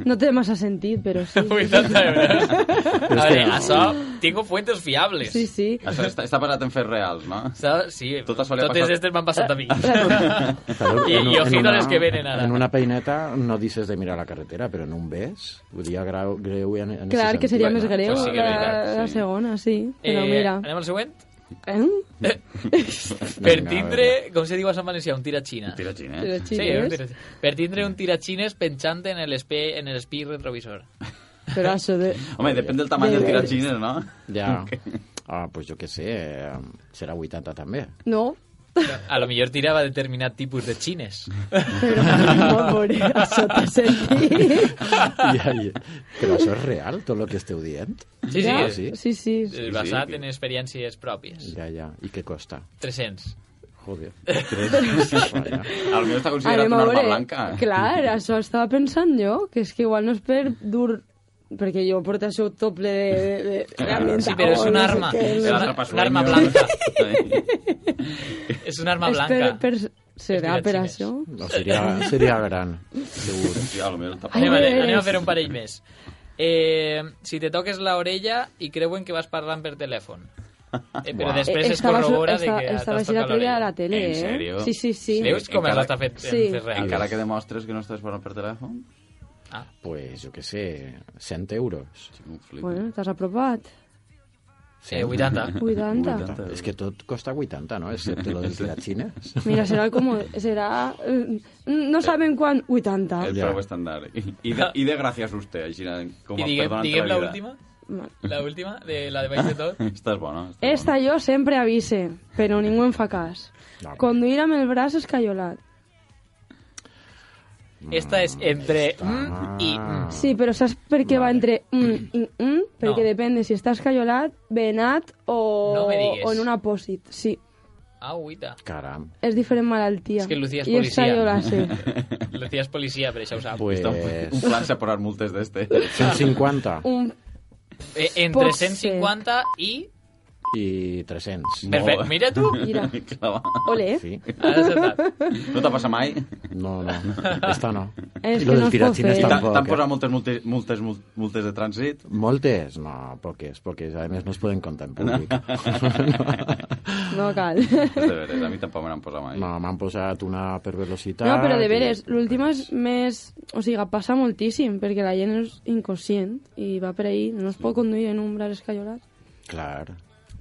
S4: no té massa sentit, però sí.
S3: 80 euros. A veure, això, tinc fuentes fiables.
S4: Sí, sí.
S5: Això està, està basat en fets reals, no?
S3: Això, sí,
S5: Tot això li ha
S3: totes
S5: passat-
S3: aquestes m'han passat a mi.
S6: Claro,
S3: I-
S6: en un-
S3: i
S6: en
S3: ojito
S6: una-
S3: les que venen ara.
S6: En una peineta no dices de mirar la carretera, però en un bes, ho diria grau, greu en, en
S4: Clar,
S6: ese
S4: que seria
S6: sentit.
S4: més greu
S3: Pues sí
S4: que
S3: que és
S4: la,
S3: veritat,
S4: la
S5: sí.
S4: segona, sí. Però
S3: Eh,
S4: mira...
S3: anem al següent.
S4: Eh?
S3: Per
S6: Vinga, a
S3: tindre, com se diu a Sant Valencià, un tirachina.
S5: Tira xina, eh?
S4: Però
S3: Sí, un
S4: xines.
S3: tira- per tindre un tirachines penjant en el espi, en el espi retrovisor.
S4: Però això de...
S5: Home, depèn del tamany del tiraxines, no?
S6: Ja. Ah, pues jo què sé, eh, serà 80 també.
S4: No,
S3: A lo millor tirava determinat tipus de xines.
S4: però no veuré això t'ha sentit.
S6: Ja, ja. Però això és real, tot el que esteu dient?
S3: Sí, sí,
S6: Ah,
S3: és-
S6: sí?
S4: Sí, sí.
S3: és basat
S5: sí.
S3: en experiències pròpies.
S6: Ja, ja. I què costa?
S3: 300.
S6: Joder. Vaya.
S5: A lo millor està considerat una arma blanca.
S4: Clar, això estava pensant jo, que és que igual no és per dur... Perquè jo porto això tot ple de... de, Oh, de
S3: Sí, però és un arma.
S4: És,
S3: És
S5: El
S3: una,
S5: atrapasueños.
S3: una arma blanca. És una arma
S4: és per,
S3: blanca.
S4: per... Serà
S3: És
S4: per
S3: tiratxines.
S4: això?
S6: No, seria, seria gran, segur.
S5: Sí, a lo millor està...
S4: Ai,
S3: Anem, a,
S4: veres.
S3: anem a fer un parell més. Eh, si te toques la orella i creuen que vas parlant per telèfon. Eh, però
S6: Uau.
S3: després es
S4: estava
S3: corrobora de
S4: estava,
S3: que
S4: estava
S3: t'has
S4: així la
S3: tocat
S4: tele a
S3: l'orella.
S4: la tele,
S5: En
S4: eh?
S5: sèrio?
S4: Sí, sí, sí.
S5: Sí.
S3: Veus com
S5: Encara-
S3: això està fet en
S4: Sí.
S3: fets reals?
S5: Encara que demostres que no estàs parlant per telèfon?
S3: Ah,
S6: Pues, jo què sé, 100 euros.
S5: Sí, un flip.
S4: Bueno, t'has apropat.
S3: Eh, 80.
S4: 80.
S6: És que tot costa 80, no? Excepte lo del tiratxines.
S4: Mira, serà com... Serà... eh, No saben quan... 80.
S5: El
S6: Ja.
S5: preu estàndard. I de, i de gràcies a vostè, així eh, com
S3: I
S5: a
S3: diguem,
S5: perdonant
S3: diguem
S5: la
S3: la
S5: vida.
S3: última,
S4: Vale.
S3: la última, de la de Baix de Tot.
S5: Estàs bona. Estàs
S4: Esta jo sempre avise, però ningú em fa cas.
S6: No.
S4: Conduir amb el braç escaiolat.
S3: Esta és entre mm i mm.
S4: Sí, però saps per què va entre mm i mm? Perquè
S3: No.
S4: depèn de si està escaiolat, venat o,
S3: No me digues.
S4: o en un apòsit. Sí.
S3: Ah, Agüita.
S6: Caram.
S4: És diferent malaltia.
S3: És que Lucía és
S4: I esta
S3: policia.
S4: jo la sé.
S3: Lucía és policia, per això ho sap.
S6: Pues...
S5: Un plan se porar multes d'este.
S6: 150
S4: Un...
S3: Eh, entre
S4: Pot
S3: 150 i...
S6: i 300.
S3: Perfecte, mira tu.
S4: Mira.
S5: Clava.
S4: Ole.
S6: Sí.
S3: Has acertat.
S5: No t'ha passat mai?
S6: No, no. Esta no.
S4: És
S6: I
S4: que
S6: lo
S4: no
S6: del
S4: es pot
S6: tiratines
S4: fer.
S5: T'han
S6: tampoc.
S5: t'han
S6: eh?
S5: posat moltes, multes, multes, mul- multes de trànsit?
S6: Moltes? No, poques, poques. A més, no es poden contar en públic.
S4: No cal.
S5: És de veres, a mi tampoc me n'han posat mai.
S6: No, m'han posat una per velocitat...
S4: No, però de
S6: i-
S4: veres, l'última és més... O sigui, passa moltíssim, perquè la gent és inconscient i va per ahí, no es pot conduir en un braç escaiolat.
S6: Clar.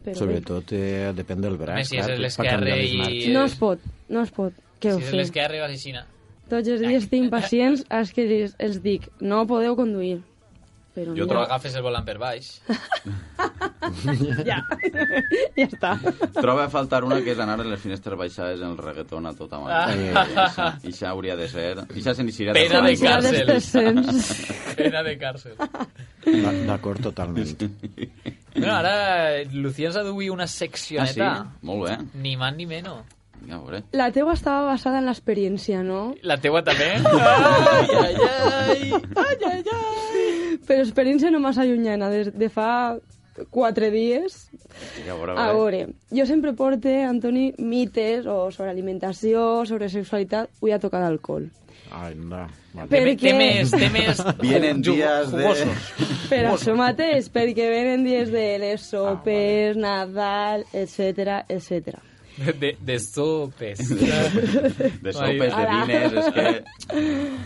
S4: Però
S6: Sobretot eh, depèn del braç.
S3: Home, si
S6: clar,
S3: és
S6: que
S3: l'esquerre
S6: pa canviar les
S3: i-
S6: marxes.
S4: No es pot, no es pot. Què
S3: Si
S4: ho
S3: és
S4: fem?
S3: l'esquerra i vas aixina.
S4: Tots els dies tinc pacients als que els, els dic, no podeu conduir. Però
S5: Jo
S4: mira,
S3: Però agafes el volant per baix.
S4: ja està.
S5: Troba a faltar una que és anar a les finestres baixades en el reggaeton a tota mare. Ah. I això hauria de ser... I això se n'eixirà
S3: Pena de
S5: Franco.
S4: Serà dels
S3: càrcel.
S4: descents.
S3: Pena de càrcel.
S6: D'a- D'acord, totalment.
S3: No, ara eh, Lucía ens ha duit una
S5: Ah, sí?
S3: seccioneta.
S5: Molt bé.
S3: Ni más ni menos.
S5: Ja ho veuré.
S4: La teua estava basada en l'experiència, no?
S3: La teua també? Ai, ai, ai. Ai, ai, ai.
S4: Però experiència no massa llunyana, des de fa quatre dies.
S5: Ja ho veuré.
S4: A veure, jo sempre porte, Antoni, mites o sobre alimentació, sobre sexualitat, avui ha tocat alcohol.
S6: Ai, no. Vale.
S4: Per què?
S3: Temes, temes...
S5: Vienen
S3: ju-
S5: días de-
S3: jugosos.
S4: Per això mateix, perquè venen dies de les sopes, Nadal, etc etc.
S3: De, de, de sopes.
S5: De sopes, de
S4: Hola.
S5: diners, és que...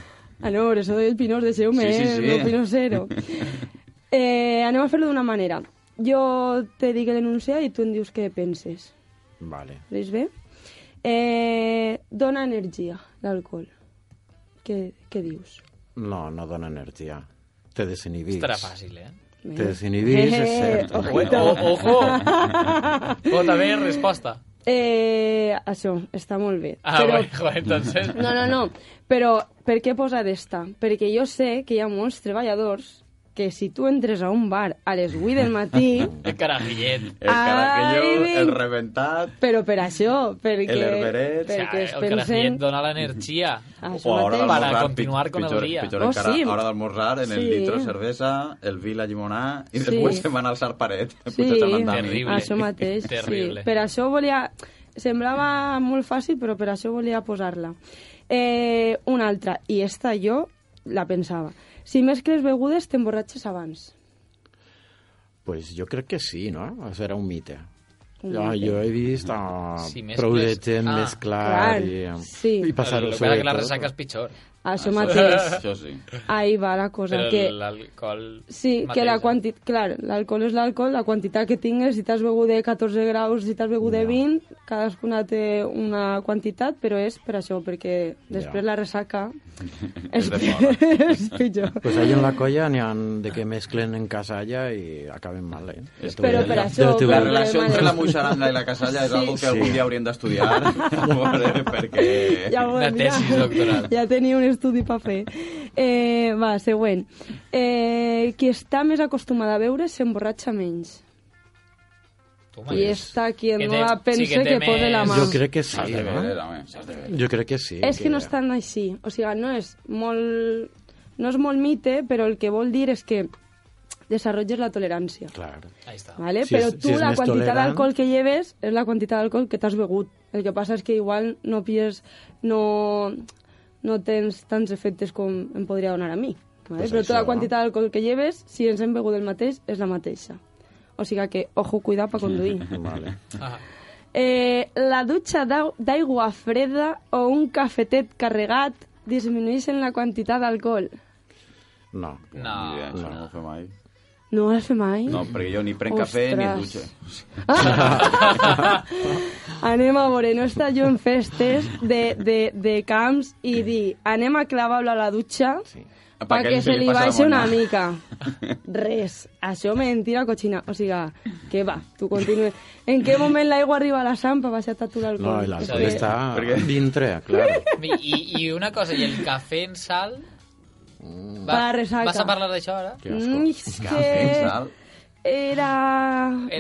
S4: Ah, no, per això del Pinós, deixeu-me,
S5: Sí, sí,
S4: eh?
S5: sí.
S4: del Pinós zero. Eh, anem a fer-ho d'una manera. Jo te dic l'enunciat i tu em dius què penses.
S6: vale.
S4: Veus bé? Eh, dona energia, l'alcohol. Què, què dius?
S6: No, no dona energia. Te desinhibís.
S3: Estarà fàcil, eh?
S6: Te desinhibís, és
S4: Eh,
S6: cert.
S3: O, ojo! O també resposta.
S4: Eh, això, està molt bé.
S3: Ah,
S4: però,
S3: bueno, joder, entonces...
S4: No, no, no. Però per què posar esta? Perquè jo sé que hi ha molts treballadors que si tu entres a un bar a les 8 del matí...
S3: El carajillet.
S5: El caracalló,
S4: Ai,
S5: el
S4: vinc.
S5: rebentat...
S4: Però per això, perquè...
S5: El herberet.
S4: Perquè es
S3: el carajillet
S4: pensen...
S3: dona l'energia.
S4: Això
S5: O a hora
S4: mateix.
S5: d'almorzar,
S3: Para continuar con el
S5: pitjor,
S3: día.
S5: Pitjor
S4: Oh,
S5: encara,
S4: sí.
S5: a hora d'almorzar, en el
S4: Sí.
S5: litro de cervesa, el vi, la llimonà, i
S4: Sí.
S5: després se'n van al sarparet.
S4: Sí,
S5: Potser se'n van d'ami.
S3: Terrible.
S4: això mateix.
S3: Terrible.
S4: Sí. Per això volia... Semblava molt fàcil, però per això volia posar-la. Eh, una altra, i esta jo la pensava. Si mescles begudes, t'emborratxes abans.
S6: Pues jo crec que sí, no? Serà un mite.
S4: Un
S6: Ja,
S4: mite.
S6: jo he vist ah,
S3: Si mescles-
S6: prou de gent
S3: Ah,
S6: mesclar
S4: clar,
S6: i,
S4: sí.
S6: i passar-ho
S3: El- el-
S6: sobre
S3: La resaca és pitjor.
S4: Això mateix.
S5: Això sí.
S4: Ahí va la cosa.
S3: Ah, Però
S4: que...
S3: l'alcohol...
S4: Sí,
S3: mateix,
S4: que la
S3: eh?
S4: quantitat... Clar, l'alcohol és l'alcohol, la quantitat que tingues, si t'has begut de 14 graus, si t'has begut de
S6: Ja.
S4: 20, cadascuna té una quantitat, però és per això, perquè després
S6: Ja.
S4: la ressaca és,
S5: de fora.
S4: és pitjor.
S6: Pues ahí en la colla n'hi ha de que mesclen en casalla i acaben mal, eh? Ja t'ho
S4: Però
S6: veuré,
S4: per
S6: ja-
S4: això-
S6: ja t'ho
S4: per
S5: La
S6: veuré.
S5: relació
S4: Vale.
S5: entre la moixaranga i la casalla és
S4: Sí.
S5: algo que algun
S6: Sí.
S5: dia hauríem d'estudiar, pobre, perquè...
S4: Ja ho
S3: Una
S4: hem, ja.
S3: tesis doctoral.
S4: Ja tenia un estudi per fer. Eh, va, següent. Eh, qui està més acostumada a veure s'emborratxa menys.
S3: Tu,
S4: I
S3: mare.
S4: està qui
S3: Que
S4: no
S3: té-
S4: la pense
S3: sí que té
S4: que pose la
S3: més-
S4: mà.
S6: Jo crec que
S5: S'has
S6: sí,
S5: de veure,
S6: no?
S5: home, s'has de veure.
S6: Jo crec que sí.
S4: És que no és tan així. O sigui, no és molt... No és molt mite, però el que vol dir és que desenvolupes la tolerància.
S6: Clar.
S3: Ahí està.
S4: ¿vale?
S6: Si
S4: però
S6: és-
S4: tu
S6: si és
S4: la
S6: més
S4: quantitat
S6: tolerant-
S4: d'alcohol que lleves és la quantitat d'alcohol que t'has begut. El que passa és que igual no pilles, no, no tens tants efectes com em podria donar a mi. ¿vale?
S6: Pues
S4: però
S6: això,
S4: tota la
S6: no?
S4: quantitat d'alcohol que lleves, si ens hem begut el mateix, és la mateixa. O sigui que, ojo, cuidar per conduir.
S6: Vale.
S3: Ah,
S4: Eh, la dutxa d'au- d'aigua freda o un cafetet carregat disminueixen la quantitat d'alcohol.
S6: No.
S3: no.
S5: Ni idea, això no ho fem mai.
S4: No ho has fet mai?
S5: No, perquè jo ni prenc cafè ni et dutxo.
S4: Ah! anem a veure, no està jo en festes de, de, de camps i dir anem a clavar-lo a la dutxa
S6: Sí.
S5: Pa que
S4: perquè
S5: ell se
S4: se li
S5: li passa la
S4: baixi una
S5: mona.
S4: mica. Res. Això mentira cochina. O sigui, que va, tu continues. En què moment l'aigua arriba a la sampa va ser tu l'alcohol?
S6: No, i l'alcohol
S4: Eh,
S3: Sí.
S6: està
S5: Perquè-
S6: dintre, clar.
S3: I, I una cosa, i el cafè en sal...
S4: Va, resaca.
S3: Vas a parlar d'això ara?
S6: Que
S4: Mm,
S6: asco.
S4: és
S5: Cafè,
S4: que...
S5: sal.
S3: Era
S4: Era...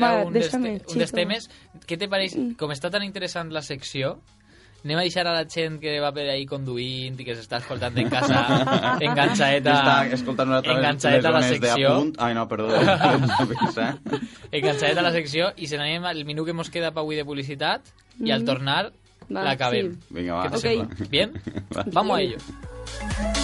S4: Va, Mm.
S3: un,
S4: déjame,
S3: deste,
S4: chico.
S3: un destemes. Què te pareix? Com està tan interessant la secció, anem a deixar a la gent que va per ahí conduint i que s'està escoltant en casa, enganxaeta,
S5: Està escoltant-nos a través
S3: enganxaeta a la
S5: les zones
S3: secció,
S5: d'apunt. Ai, no, ¿eh? perdó. Pensa.
S3: enganxaeta a la secció i se n'anem al minut que mos queda pa avui de publicitat i al
S4: Mhm.
S3: tornar
S4: Va,
S3: l'acabem.
S4: sí.
S5: Vinga,
S3: ¿Qué
S5: va.
S3: te
S4: Ok.
S3: sembla? Bien?
S5: Va.
S3: Vamos a ello.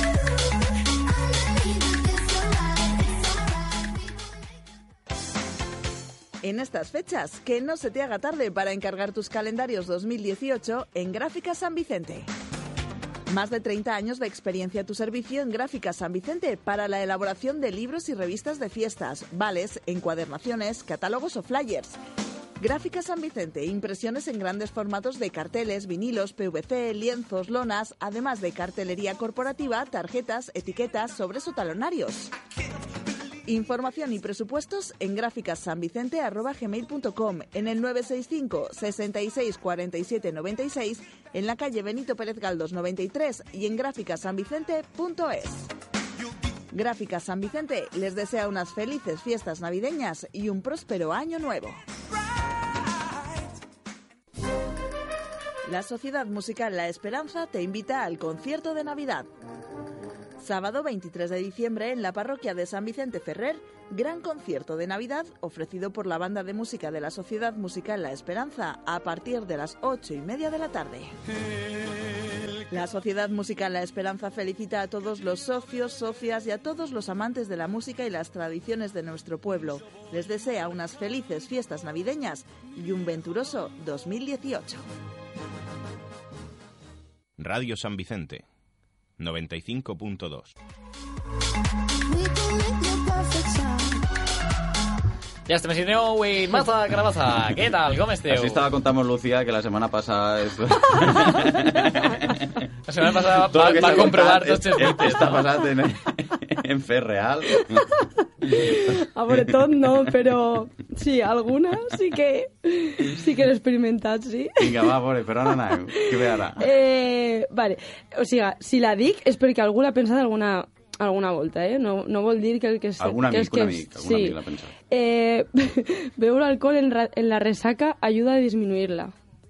S8: En estas fechas, que no se te haga tarde para encargar tus calendarios 2018 en Gráficas San Vicente. Más de 30 años de experiencia a tu servicio en Gráficas San Vicente para la elaboración de libros y revistas de fiestas, vales, encuadernaciones, catálogos o flyers. Gráficas San Vicente, impresiones en grandes formatos de carteles, vinilos, PVC, lienzos, lonas, además de cartelería corporativa, tarjetas, etiquetas, sobres o talonarios. Información y presupuestos en gráficassanvicente.com, en el 965 66 47 96, en la calle Benito Pérez Galdós 93 y en gráficassanvicente.es. Gráficas San Vicente les desea unas felices fiestas navideñas y un próspero año nuevo. La Sociedad Musical La Esperanza te invita al concierto de Navidad. Sábado 23 de diciembre en la parroquia de San Vicente Ferrer, gran concierto de Navidad ofrecido por la banda de música de la Sociedad Musical La Esperanza a partir de las 8 y media de la tarde. La Sociedad Musical La Esperanza felicita a todos los socios, socias y a todos los amantes de la música y las tradiciones de nuestro pueblo. Les desea unas felices fiestas navideñas y un venturoso 2018.
S11: Radio San Vicente, 95.2.
S3: Ya está, me siento, güey, maza, carabaza. ¿Qué tal? ¿Cómo esteu?
S5: Así estaba contamos Lucía que la semana pasada es-
S3: La semana pasada
S5: Todo
S3: va,
S5: lo que
S3: va a
S5: s'ha
S3: comprovar
S5: contat
S3: tots els
S5: és-
S3: dubtes.
S5: Està basat en, en fer real.
S4: A Bretón no, pero sí, algunas sí que sí que l'he experimentat, sí.
S5: Vinga, va, a veure, però on anàvem? Què ve ara?
S4: Eh, vale, o sigui, si la dic és perquè algú l'ha pensat alguna, alguna volta, eh? No, no vol dir que el que... és-
S5: Algun
S4: que
S5: amic,
S4: és
S5: un
S4: que
S5: amic, algun
S4: sí.
S5: amic l'ha pensat.
S4: Eh, beure alcohol en, ra- en la resaca ayuda a disminuir-la.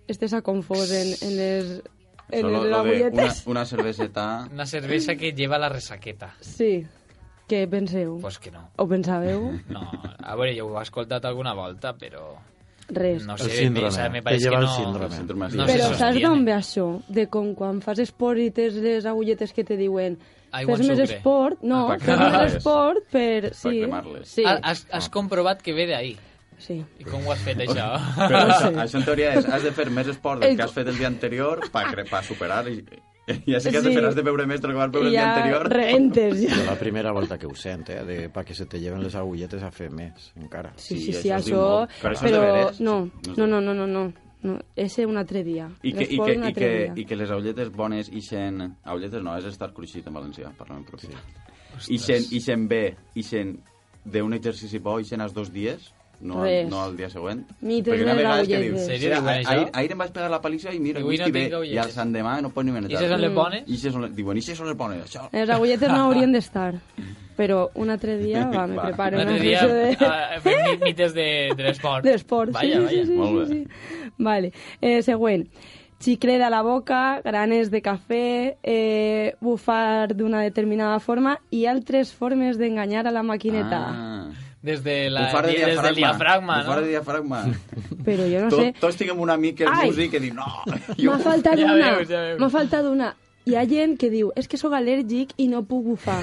S4: Estés a confós en, en les... En
S5: Solo
S4: les
S5: lo de una,
S4: agulletes.
S5: una cerveseta...
S3: Una cervesa que lleva la resaqueta.
S4: Sí. Què penseu?
S3: Pues que no.
S4: O pensàveu?
S3: No, a veure, jo ho he escoltat alguna volta, però...
S4: Res.
S3: No
S6: El
S3: sé,
S6: síndrome,
S3: o sea, me
S6: que
S3: pareix que,
S6: lleva el
S3: no...
S6: síndrome. El
S5: síndrome
S3: no
S4: Però
S3: se
S4: saps
S3: sostiene.
S4: d'on ve això? De com quan fas esport i tens les agulletes que te diuen
S3: Aigua
S4: fes
S3: amb
S4: més
S3: sucre.
S4: esport, no,
S5: Ah, per
S4: fes més
S5: cremar-les.
S4: esport per... Sí,
S5: cremar-les.
S4: sí,
S3: Ha- Ah, Has, has comprovat que ve d'ahí.
S4: sí.
S3: I com ho has fet, això?
S5: Però això,
S4: Sí.
S5: això en teoria és, has de fer més esport del
S4: El-
S5: que has fet el dia anterior per superar... I, ja sé que has de
S4: Sí.
S5: fer, has de beure més del que vas
S4: I
S5: beure el dia
S4: ja
S5: anterior.
S4: reentes,
S6: Jo
S4: ja.
S6: la primera volta que ho sent, eh, de, perquè se te lleven les agulletes a fer més, encara.
S4: Sí,
S5: Sí,
S4: sí, sí,
S5: això es diu
S4: això...
S5: molt. Però això és
S4: Però
S5: de veres?
S4: no,
S5: Sí,
S4: no,
S5: no és
S4: no, no, no, no. no. Ese un altre dia.
S5: I que, i,
S4: L'esport
S5: que,
S4: un
S5: i,
S4: altre
S5: que,
S4: dia.
S5: I que les aulletes bones ixen... Aulletes no, és estar cruixit en valencià, parlant propi. Sí. Ixen, ixen bé, ixen d'un exercici bo, ixen als dos dies, no,
S4: Res.
S5: al, no al dia següent.
S4: Mites
S5: Perquè una
S4: de
S5: vegada és que
S4: l'aullet.
S5: dius,
S4: Sí,
S5: "Sí,
S3: diuen
S5: ahir-
S3: això.
S5: ahir, ahir em vaig pegar la paliza i mira,
S3: I
S5: avui
S3: avui no
S5: estic bé.
S3: tinc
S5: I
S3: aulletes.
S5: al sant demà no pot ni
S3: I se
S5: menetar.
S3: són
S4: Mm.
S3: les bones?
S5: Ixes són les- Diuen, ixes són les bones, això.
S4: Les agulletes no haurien d'estar. Però un altre dia, va, me
S5: Va.
S4: preparo.
S3: Un altre
S4: una
S3: dia
S4: sessió de...
S3: eh, fem mi- mites de, de l'esport.
S4: D'esport, sí,
S3: Vaya,
S4: sí,
S3: vaya.
S4: sí, sí,
S5: Molt
S4: sí,
S5: bé.
S4: sí. Vale. Eh, següent. Xiclet a la boca, granes de cafè, eh, bufar d'una determinada forma i altres formes d'enganyar a la maquineta.
S5: Ah.
S3: Des, de la,
S5: Bufar de
S3: des del diafragma, no?
S5: Bufar de diafragma.
S4: Però jo no
S5: Tot-
S4: sé...
S5: Tots tinguem un amic que és
S4: Ai.
S5: músic que diu, no, jo...
S4: M'ha faltat
S3: Ja
S4: una.
S3: veus, ja veus.
S4: M'ha faltat una. Hi ha gent que diu, és que sóc al·lèrgic i no puc bufar.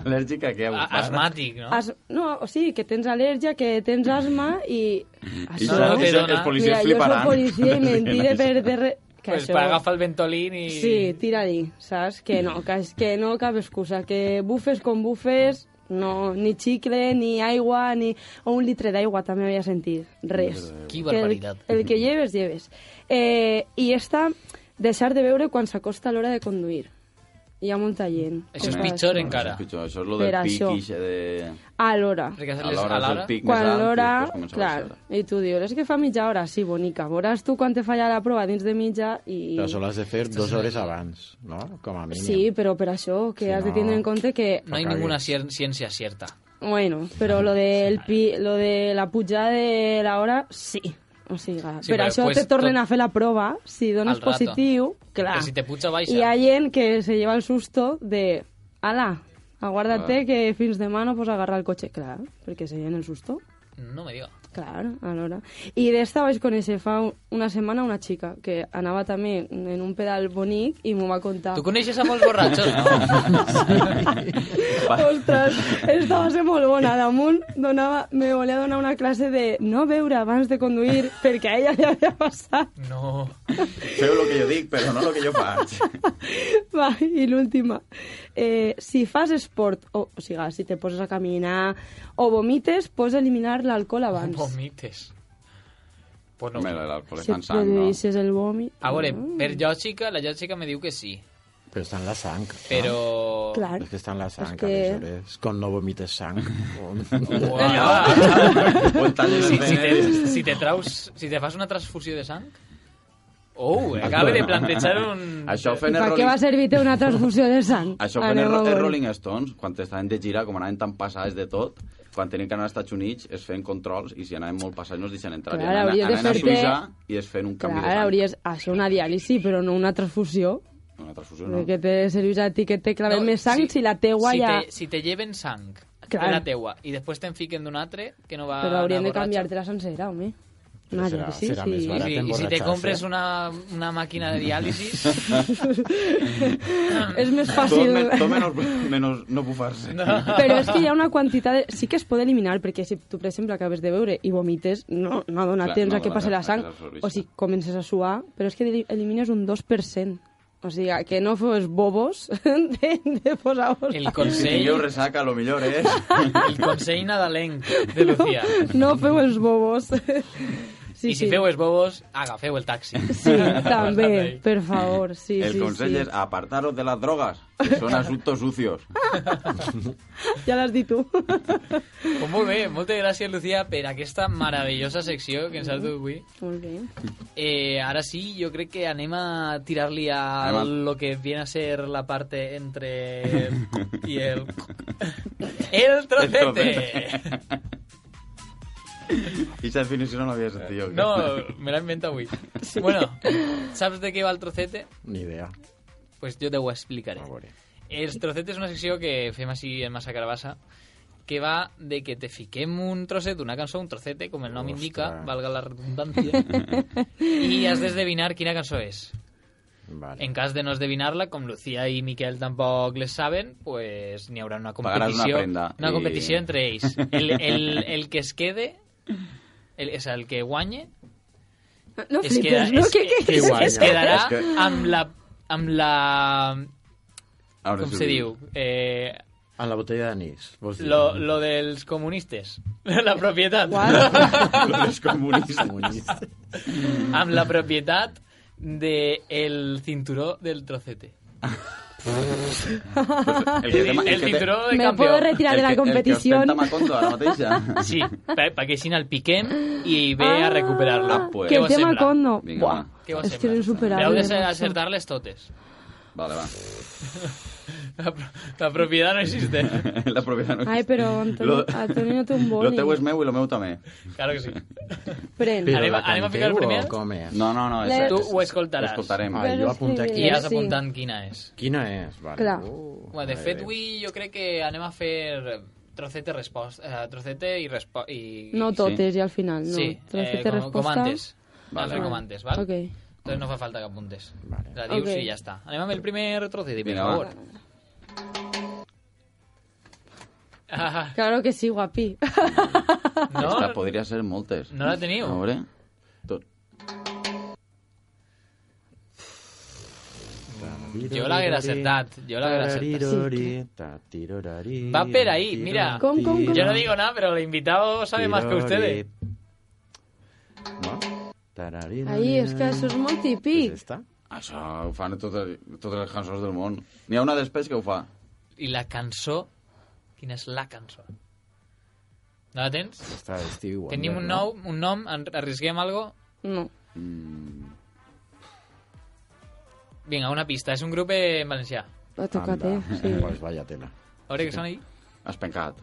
S5: Al·lèrgic a què?
S3: A- Asmàtic, no?
S4: As... No, o sigui, que tens al·lèrgia, que tens asma i...
S5: I
S4: Això...
S5: això,
S3: no te
S5: això,
S3: dona.
S5: els policies
S4: Mira, jo
S5: fliparan.
S4: soc policia i mentiré per... De re... Que
S3: Pues per agafar el ventolín i...
S4: Sí, tira-li, saps? Que no, que, és que no cap excusa, que bufes com bufes, no, ni xicle, ni aigua, ni... O un litre d'aigua també havia sentit, res.
S3: Qui
S4: Que el,
S3: barbaritat.
S4: el que lleves, lleves. Eh, I esta, deixar de beure quan s'acosta l'hora de conduir. Hi ha molta gent.
S3: Això és
S4: que fa
S3: pitjor
S4: això.
S3: encara.
S5: Això és pitjor, eh? això és lo
S4: Per
S5: del pic
S4: això.
S5: ixe de...
S4: A l'hora.
S3: Perquè
S5: A
S3: hacer les- a
S5: l'hora és el
S3: l'hora...
S5: pic més
S4: Quan
S5: alt i
S4: l'hora...
S5: després comença a
S4: Clar,
S5: baixar.
S4: i tu dius, és que fa mitja hora, sí, bonica. Veuràs tu quan te falla la prova dins de mitja i...
S6: Però això l'has de fer dues hores abans, no? Com a mínim.
S4: Sí, però per això, que
S6: Si
S4: has de
S6: no-
S4: tindre en compte que
S3: No hay
S6: Acabi.
S3: ninguna cier- ciencia cierta.
S4: Bueno, pero lo, del pi, lo de la pujada de la hora, sí. O sigui,
S3: Sí,
S4: però
S3: però
S4: això
S3: pues
S4: te tornen
S3: tot-
S4: a fer la prova, si dones
S3: Al rato.
S4: positiu, clar.
S3: Que si te pucha, baixa.
S4: Y hay en que se lleva el susto de, ala, aguárdate
S3: Ah.
S4: que fins de mano pues agarra el coche, claro, porque se llevan el susto.
S3: No me diga.
S4: Claro, alhora. I d'esta vaig conèixer fa un- una setmana una xica que anava també en un pedal bonic i m'ho va contar.
S3: Tu coneixes a molts borratxos, no?
S4: Ostres, esta va ser molt bona. Damunt donava, me volia donar una classe de no beure abans de conduir perquè a ella li havia passat.
S3: No.
S5: Feu el que jo dic, però no el que jo faig.
S4: Va, i l'última. Eh, si fas esport, o, o sigui, si te poses a caminar o vomites, pots eliminar l'alcohol abans.
S3: Vomites. Pues no.
S5: Mira, l'alcohol
S4: Si
S5: està en
S4: et
S5: sang, no?
S4: produeixes el vòmit... Mm.
S3: A veure,
S4: no.
S3: per lògica, la lògica me diu que sí,
S6: Però està en la sang.
S3: però...
S4: Clar.
S6: És que està en la sang,
S4: És
S6: que...
S4: que-
S6: aleshores. Com no vomites sang.
S3: Uah.
S6: O et tallen
S3: si,
S6: els
S3: si, te,
S6: venes.
S3: si te traus... Si te fas una transfusió de sang... Oh, acabe de plantejar un...
S5: eh, Això
S4: I
S5: fent el
S4: per què
S5: Rolling
S4: va servir-te una transfusió de sang? Ah,
S5: Això quan
S4: Anem
S5: els,
S4: a
S5: els
S4: veure.
S5: Rolling Stones, quan estaven de gira, com anaven tan passades de tot, quan tenien que anar als Estats Units, es feien controls i si anaven molt passats no es deixen entrar.
S4: Clar,
S5: I anaven,
S4: hauries de
S5: anaven a
S4: fer-te-
S5: Suïssa i es feien un canvi
S4: Clar,
S5: de
S4: hauries de fer una diàlisi, però no una transfusió.
S5: sang. Una transfusió, no?
S4: No. Que te serveix a ti que te claven
S3: No,
S4: no, més sang
S3: sí,
S4: si, la teua
S3: si
S4: ja...
S3: Te, si te lleven sang
S4: Clar.
S3: de la teua i després te'n fiquen d'un altre que no va
S4: Però hauríem
S3: anar
S4: de
S3: borratxo.
S4: canviar-te-la sencera, home.
S6: Però serà-
S4: que sí,
S6: serà
S4: sí.
S6: més
S3: I
S6: barat.
S3: si, i si te
S6: emborratxar-se.
S3: compres
S5: eh?
S3: una, una màquina de diàlisis...
S4: és més
S5: Tot,
S4: fàcil.
S5: men tot menos, menos no bufar-se.
S4: Però és que hi ha una quantitat... De... Sí que es pot eliminar, perquè si tu, per exemple, acabes de beure i vomites, no, no dona
S5: Clar,
S4: temps
S5: no
S4: a que
S5: dona
S4: passi la
S5: temps a
S4: sang,
S5: que s'absorbeixi.
S4: o si comences a suar, però és que eli- elimines un 2%. O sigui, que no fos bobos de, de posar-vos...
S3: El
S4: a-
S5: Si
S3: consell,
S5: tingueu resaca, lo millor ¿eh? és...
S3: el consell nadalenc de Lucía.
S4: No feu els bobos.
S3: Sí, I si feu els bobos, agafeu el taxi.
S4: Sí, també, per favor, sí,
S5: el
S4: sí,
S5: consell
S4: sí.
S5: és apartaros de las drogas, que son asuntos sucios.
S4: Ja l'has dit tu.
S3: Pues molt bé, moltes gràcies, Lucía, per aquesta meravellosa secció que ens has dut avui.
S4: Molt bé.
S3: Eh, ara sí, jo crec que anem a tirar-li a
S5: Anem a-
S3: lo que viene a ser la parte entre el cuc i el... ¡El trocete!
S5: Y esa definició no l'havia sentit jo.
S3: No, me la invento avui. Bueno, saps de què va el trocete?
S6: Ni idea.
S3: Pues jo te ho explicaré.
S6: A veure.
S3: El trocete és una secció que fem així en massa carabassa que va de que te fiquem un trosset d'una cançó, un trocete, com el nom
S6: Ostres.
S3: indica, valga la redundància, i has d'esdevinar quina cançó és.
S6: Vale.
S3: En cas de no esdevinar-la, com Lucía i Miquel tampoc les saben, pues n'hi haurà una
S5: Pagaràs una
S3: competició,
S5: prenda
S3: una
S5: i-
S3: competició entre ells. El, el, el que es quede, el, és el que guanye,
S4: No
S3: es, queda,
S4: flipes, no?
S3: es,
S4: Què, què,
S3: es-
S4: què?
S3: es quedarà
S5: És que-
S3: amb la... Amb la
S5: Ara
S3: com
S5: sí ho
S3: se
S5: dic.
S3: diu? Eh,
S6: En la botella d'anís. vols dir?
S3: lo, lo dels comunistes. La propietat.
S5: Los comunistas.
S3: amb la propietat del el cinturó del trocete.
S5: El
S3: El,
S5: que tema- el que te-
S3: cinturó de
S4: Me puedo
S3: campeón.
S4: retirar
S5: el
S4: de la
S5: que-
S4: competició.
S5: El que ostenta Macondo ara mateixa.
S3: Sí, para que sin al piquem y ve a
S5: Ah,
S3: recuperarla.
S5: pues.
S4: Que
S5: Què
S4: el
S3: vos
S4: tema
S3: sembla?
S4: condo.
S5: Vinga,
S4: Buah,
S5: va.
S3: Què vos
S4: és
S3: sembla?
S4: que és
S3: Heu
S4: insuperable.
S3: de ser- acertar-les totes.
S5: Vale, va.
S3: La, pro- la propietat no existe.
S5: La propietat no
S4: Ai, però Antonio,
S5: Lo-
S4: Antonio no té un
S5: Lo
S4: boli.
S5: teu és meu i lo meu també.
S3: Claro que sí.
S4: Pren.
S6: Però
S3: Anem a-
S6: la
S3: anem a ficar el
S6: canteu
S3: primer?
S6: o com és?
S5: No, no, no. És,
S4: Le-
S3: Tu ho escoltaràs.
S5: Ho escoltarem.
S6: Ah, jo apunto aquí.
S3: I vas
S4: Sí.
S3: apuntant quina és.
S6: Quina és? Vale.
S4: Clar.
S6: Uh,
S3: Bueno, de
S6: mare
S3: fet,
S6: Déu.
S3: avui jo crec que anem a fer trocete, resposta, eh, trocete i resposta. I...
S4: No totes i al final, no.
S3: Sí,
S4: Trocete
S3: eh, com, com
S4: resposta.
S3: antes.
S5: Vale.
S3: Vale. Fer com antes, val?
S4: Ok.
S3: Entonces no fa falta que apuntes.
S6: Vale.
S3: La dius
S4: Ok.
S3: i ja està. Anem amb el primer trocete, per
S5: Vinga,
S3: favor.
S5: va.
S3: Ah,
S4: Claro que sí, guapi.
S5: Esta
S3: no,
S5: podria ser moltes.
S3: no la teniu.
S5: A veure... Tot.
S3: Jo l'haguera acertat, jo l'haguera
S6: Tararirori, tatirorari,
S3: Va per ahí, mira.
S4: Com, com, com?
S3: Yo no digo nada, pero el invitado sabe más que ustedes.
S6: ¿No? Tararina.
S4: Ai, és que això és molt
S6: ¿Es
S4: típic.
S6: esta?
S5: Això ho fan totes, totes les cançons del món. N'hi ha una després que ho fa.
S3: Y la cansó. ¿Quién es la cansó? ¿No la tens?
S6: Esta de Stevie Wonder,
S3: Tenim un
S6: ¿no?
S3: nom, un nom, en- arrisquem algo.
S4: No.
S5: Mm,
S3: Vinga, una pista. És un grup en valencià.
S4: La tocat,
S6: Anda,
S4: eh? Sí.
S6: Pues vaya tela.
S3: A veure què són ahí.
S5: Has pencat.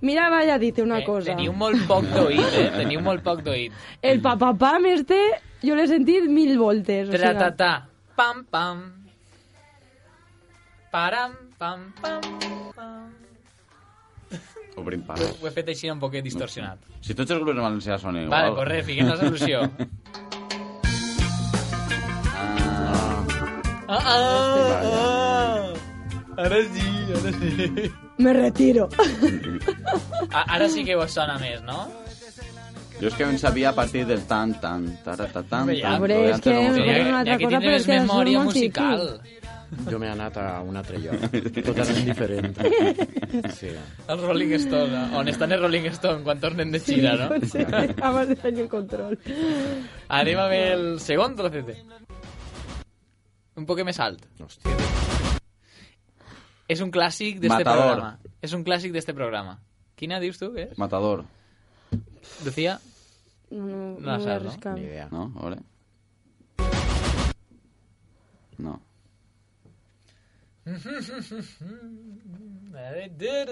S4: Mira, vaya, dite una
S3: Eh,
S4: cosa.
S3: Teniu molt poc d'oït, eh? Teniu molt poc d'oït.
S4: El papapam este, jo l'he sentit mil voltes. O sigui,
S3: Tratatà. Pam, pam. Param, pam, pam, pam.
S5: Obrim pas.
S3: Ho he fet així un poquet distorsionat.
S5: Si tots els grups valencians són igual...
S3: Vale, corre, fiquem la solució. Ah, ah, ah. Ara sí, ara sí.
S4: Me retiro.
S3: A, ara sí que vos sona més, no?
S5: Jo és que em sabia a partir del tan, tan, taratatam...
S3: Hombre,
S5: tan,
S4: Hombre,
S5: tan,
S4: es que
S5: tan,
S4: me
S5: tan, tan.
S4: parece una otra
S3: aquí
S4: cosa, pero
S3: tindràs
S4: es que son
S3: memòria
S4: molt
S3: musical.
S6: Jo m'he anat a un altre lloc, totalment diferent. Sí.
S3: Els Rolling Stones, on estan els Rolling Stones quan tornen de gira, no?
S4: Sí, abans de tenir el control.
S3: Anem amb el segon trocete. Un poc més alt.
S6: Hòstia.
S3: És un clàssic d'este
S5: Matador.
S3: programa. És un clàssic d'este programa. Quina dius tu que és?
S5: Matador,
S3: Lucía?
S4: No, no,
S3: No la
S4: no, voy a
S3: saps, no?
S4: arriscar.
S6: Ni idea.
S5: no? A veure... No.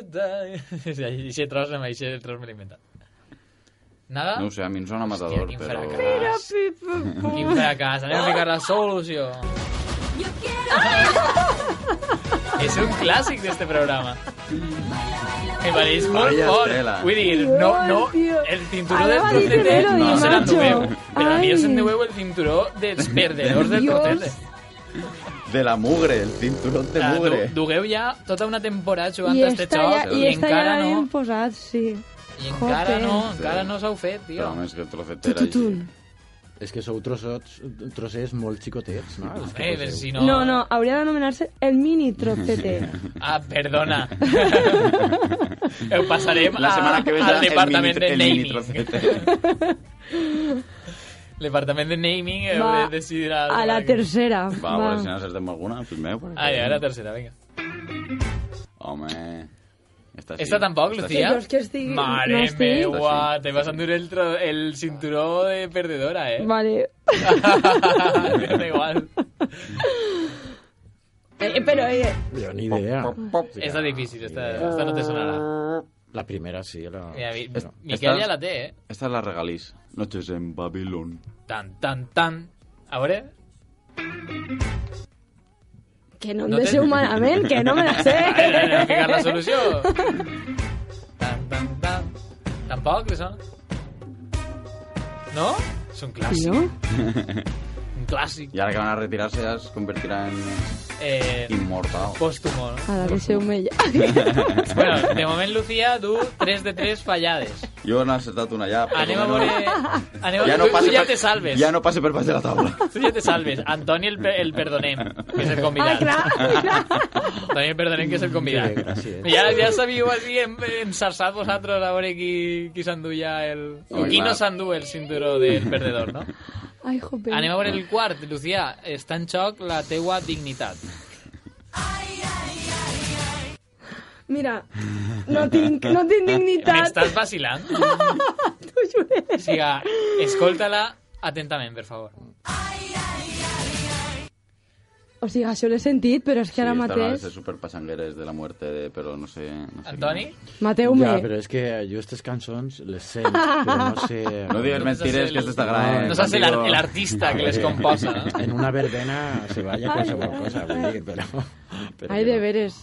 S3: Eixe tros, amb eixe tros me l'he inventat. Nada?
S5: No ho sé, a mi em sona matador,
S3: ¿Ah? quin
S5: però...
S3: fracàs. Quin fracàs. Anem a ficar la solució. És un clàssic d'este programa. Me pareix molt
S5: Vaya
S3: fort.
S5: tela.
S3: Vull dir, no, no,
S4: Ai, tio.
S3: el cinturó
S4: Ara
S3: del
S4: va dir
S3: trotete
S4: que no,
S3: no
S5: diu
S3: se
S5: macho.
S3: l'enduveu. Però a mi
S4: Ai.
S3: els enduveu el cinturó dels perdedors del
S4: Dios.
S3: trotete.
S5: De la mugre, el cinturón de
S3: Ah, du-
S5: mugre.
S3: Dugueu ja tota una temporada jugant
S4: I
S3: a este
S4: esta ja,
S3: xoc i
S4: i esta ja
S3: encara
S4: l'hem
S3: no...
S4: posat, sí.
S3: I encara
S4: Joder.
S3: no, encara no s'ha fet, tio.
S5: Però més que trocetera així.
S4: Tututun.
S6: És que sou trossots, trosses molt xicotets, no? Els que pues,
S3: Eh, però
S6: poseu.
S3: si no...
S4: No, no, hauria d'anomenar-se el mini trocete.
S3: Ah, perdona. Ho passarem
S5: La setmana
S3: a,
S5: que ve serà
S3: Ah, al
S5: el
S3: departament
S5: mini-
S3: de
S5: el mini
S3: naming.
S5: trocete.
S3: El departament de naming heu
S4: Va,
S3: de decidir... algo
S4: A la
S3: perquè-
S4: tercera.
S5: Va, a veure si
S4: Va.
S5: n'encertem alguna, primer. perquè-
S3: Ah, ja, a la tercera, vinga.
S5: Home... Esta,
S3: Esta tampoc,
S5: Esta
S3: Lucía.
S4: Jo és que estic-
S3: Mare
S4: no estic.
S3: meua, te vas a endur el, tro- el cinturó de perdedora, eh?
S4: Vale.
S3: da igual.
S4: Eh, però, eh,
S6: Jo ni idea.
S3: Esta difícil, esta, esta no te sonarà.
S6: La primera sí, la...
S3: Mira, mi,
S6: però-
S3: Miquel
S5: Esta-
S3: ja la té, eh?
S5: Esta es la regaliz. Noches en Babilón.
S3: Tan, tan, tan. A veure...
S4: que no em
S3: No te-
S4: deixeu malament, que no me la sé.
S3: Anem a ficar la solució. Tan, tan, tan. Tampoc li sona? No? És un clàssic.
S4: No?
S3: Un clàssic.
S5: Y ahora que van a retirarse ya se convertirá en
S3: Eh,
S5: inmortal.
S3: Póstumo, ¿no?
S4: Ara deixeu-me ja.
S3: Bueno, de moment, Lucía, du 3 de 3 fallades.
S5: Yo no he acertado una ya, pero
S3: Anem a
S5: bueno,
S3: veure... Anem a...
S5: Ja no
S3: tu, tu
S5: passa
S3: ja
S5: per-
S3: te salves.
S5: Ya no pase per pas de la tabla.
S3: Tu ja te salves. Antoni el, pe- el perdonem, que és el
S4: Ah,
S3: convidat.
S4: clar.
S3: Antoni el perdonem, que és el convidat.
S6: Sí, gràcies.
S3: Ja, ja sabíeu així, hem, hem sarçat vosaltres a veure qui, qui s'enduia el... O
S5: Home,
S3: qui no
S5: clar.
S3: s'endú el cinturó del perdedor, no?
S4: Ai, jope.
S3: Anem a veure el quart. Lucía, està en xoc la teua dignitat.
S4: Mira, no tinc, no tinc dignitat.
S3: M'estàs vacilant?
S4: T'ho juré.
S3: O sigui, escolta-la atentament, per favor.
S4: O sigui, això l'he sentit, però és que ara
S5: Sí, esta
S4: mateix...
S5: de super pachangueres de la muerte, de- pero no sé... No sé
S3: Antoni?
S4: Mateu-me.
S6: Ja, però és que jo aquestes cançons les sent, però no sé...
S5: qué. No digas mentiras, que esto está grave.
S6: eh,
S3: No saps el,
S5: contigo.
S3: el artista que les composa,
S5: eh?
S3: no?
S6: En una verbena se balla qualsevol cosa, vull dir, però... però
S4: Ai, de veres.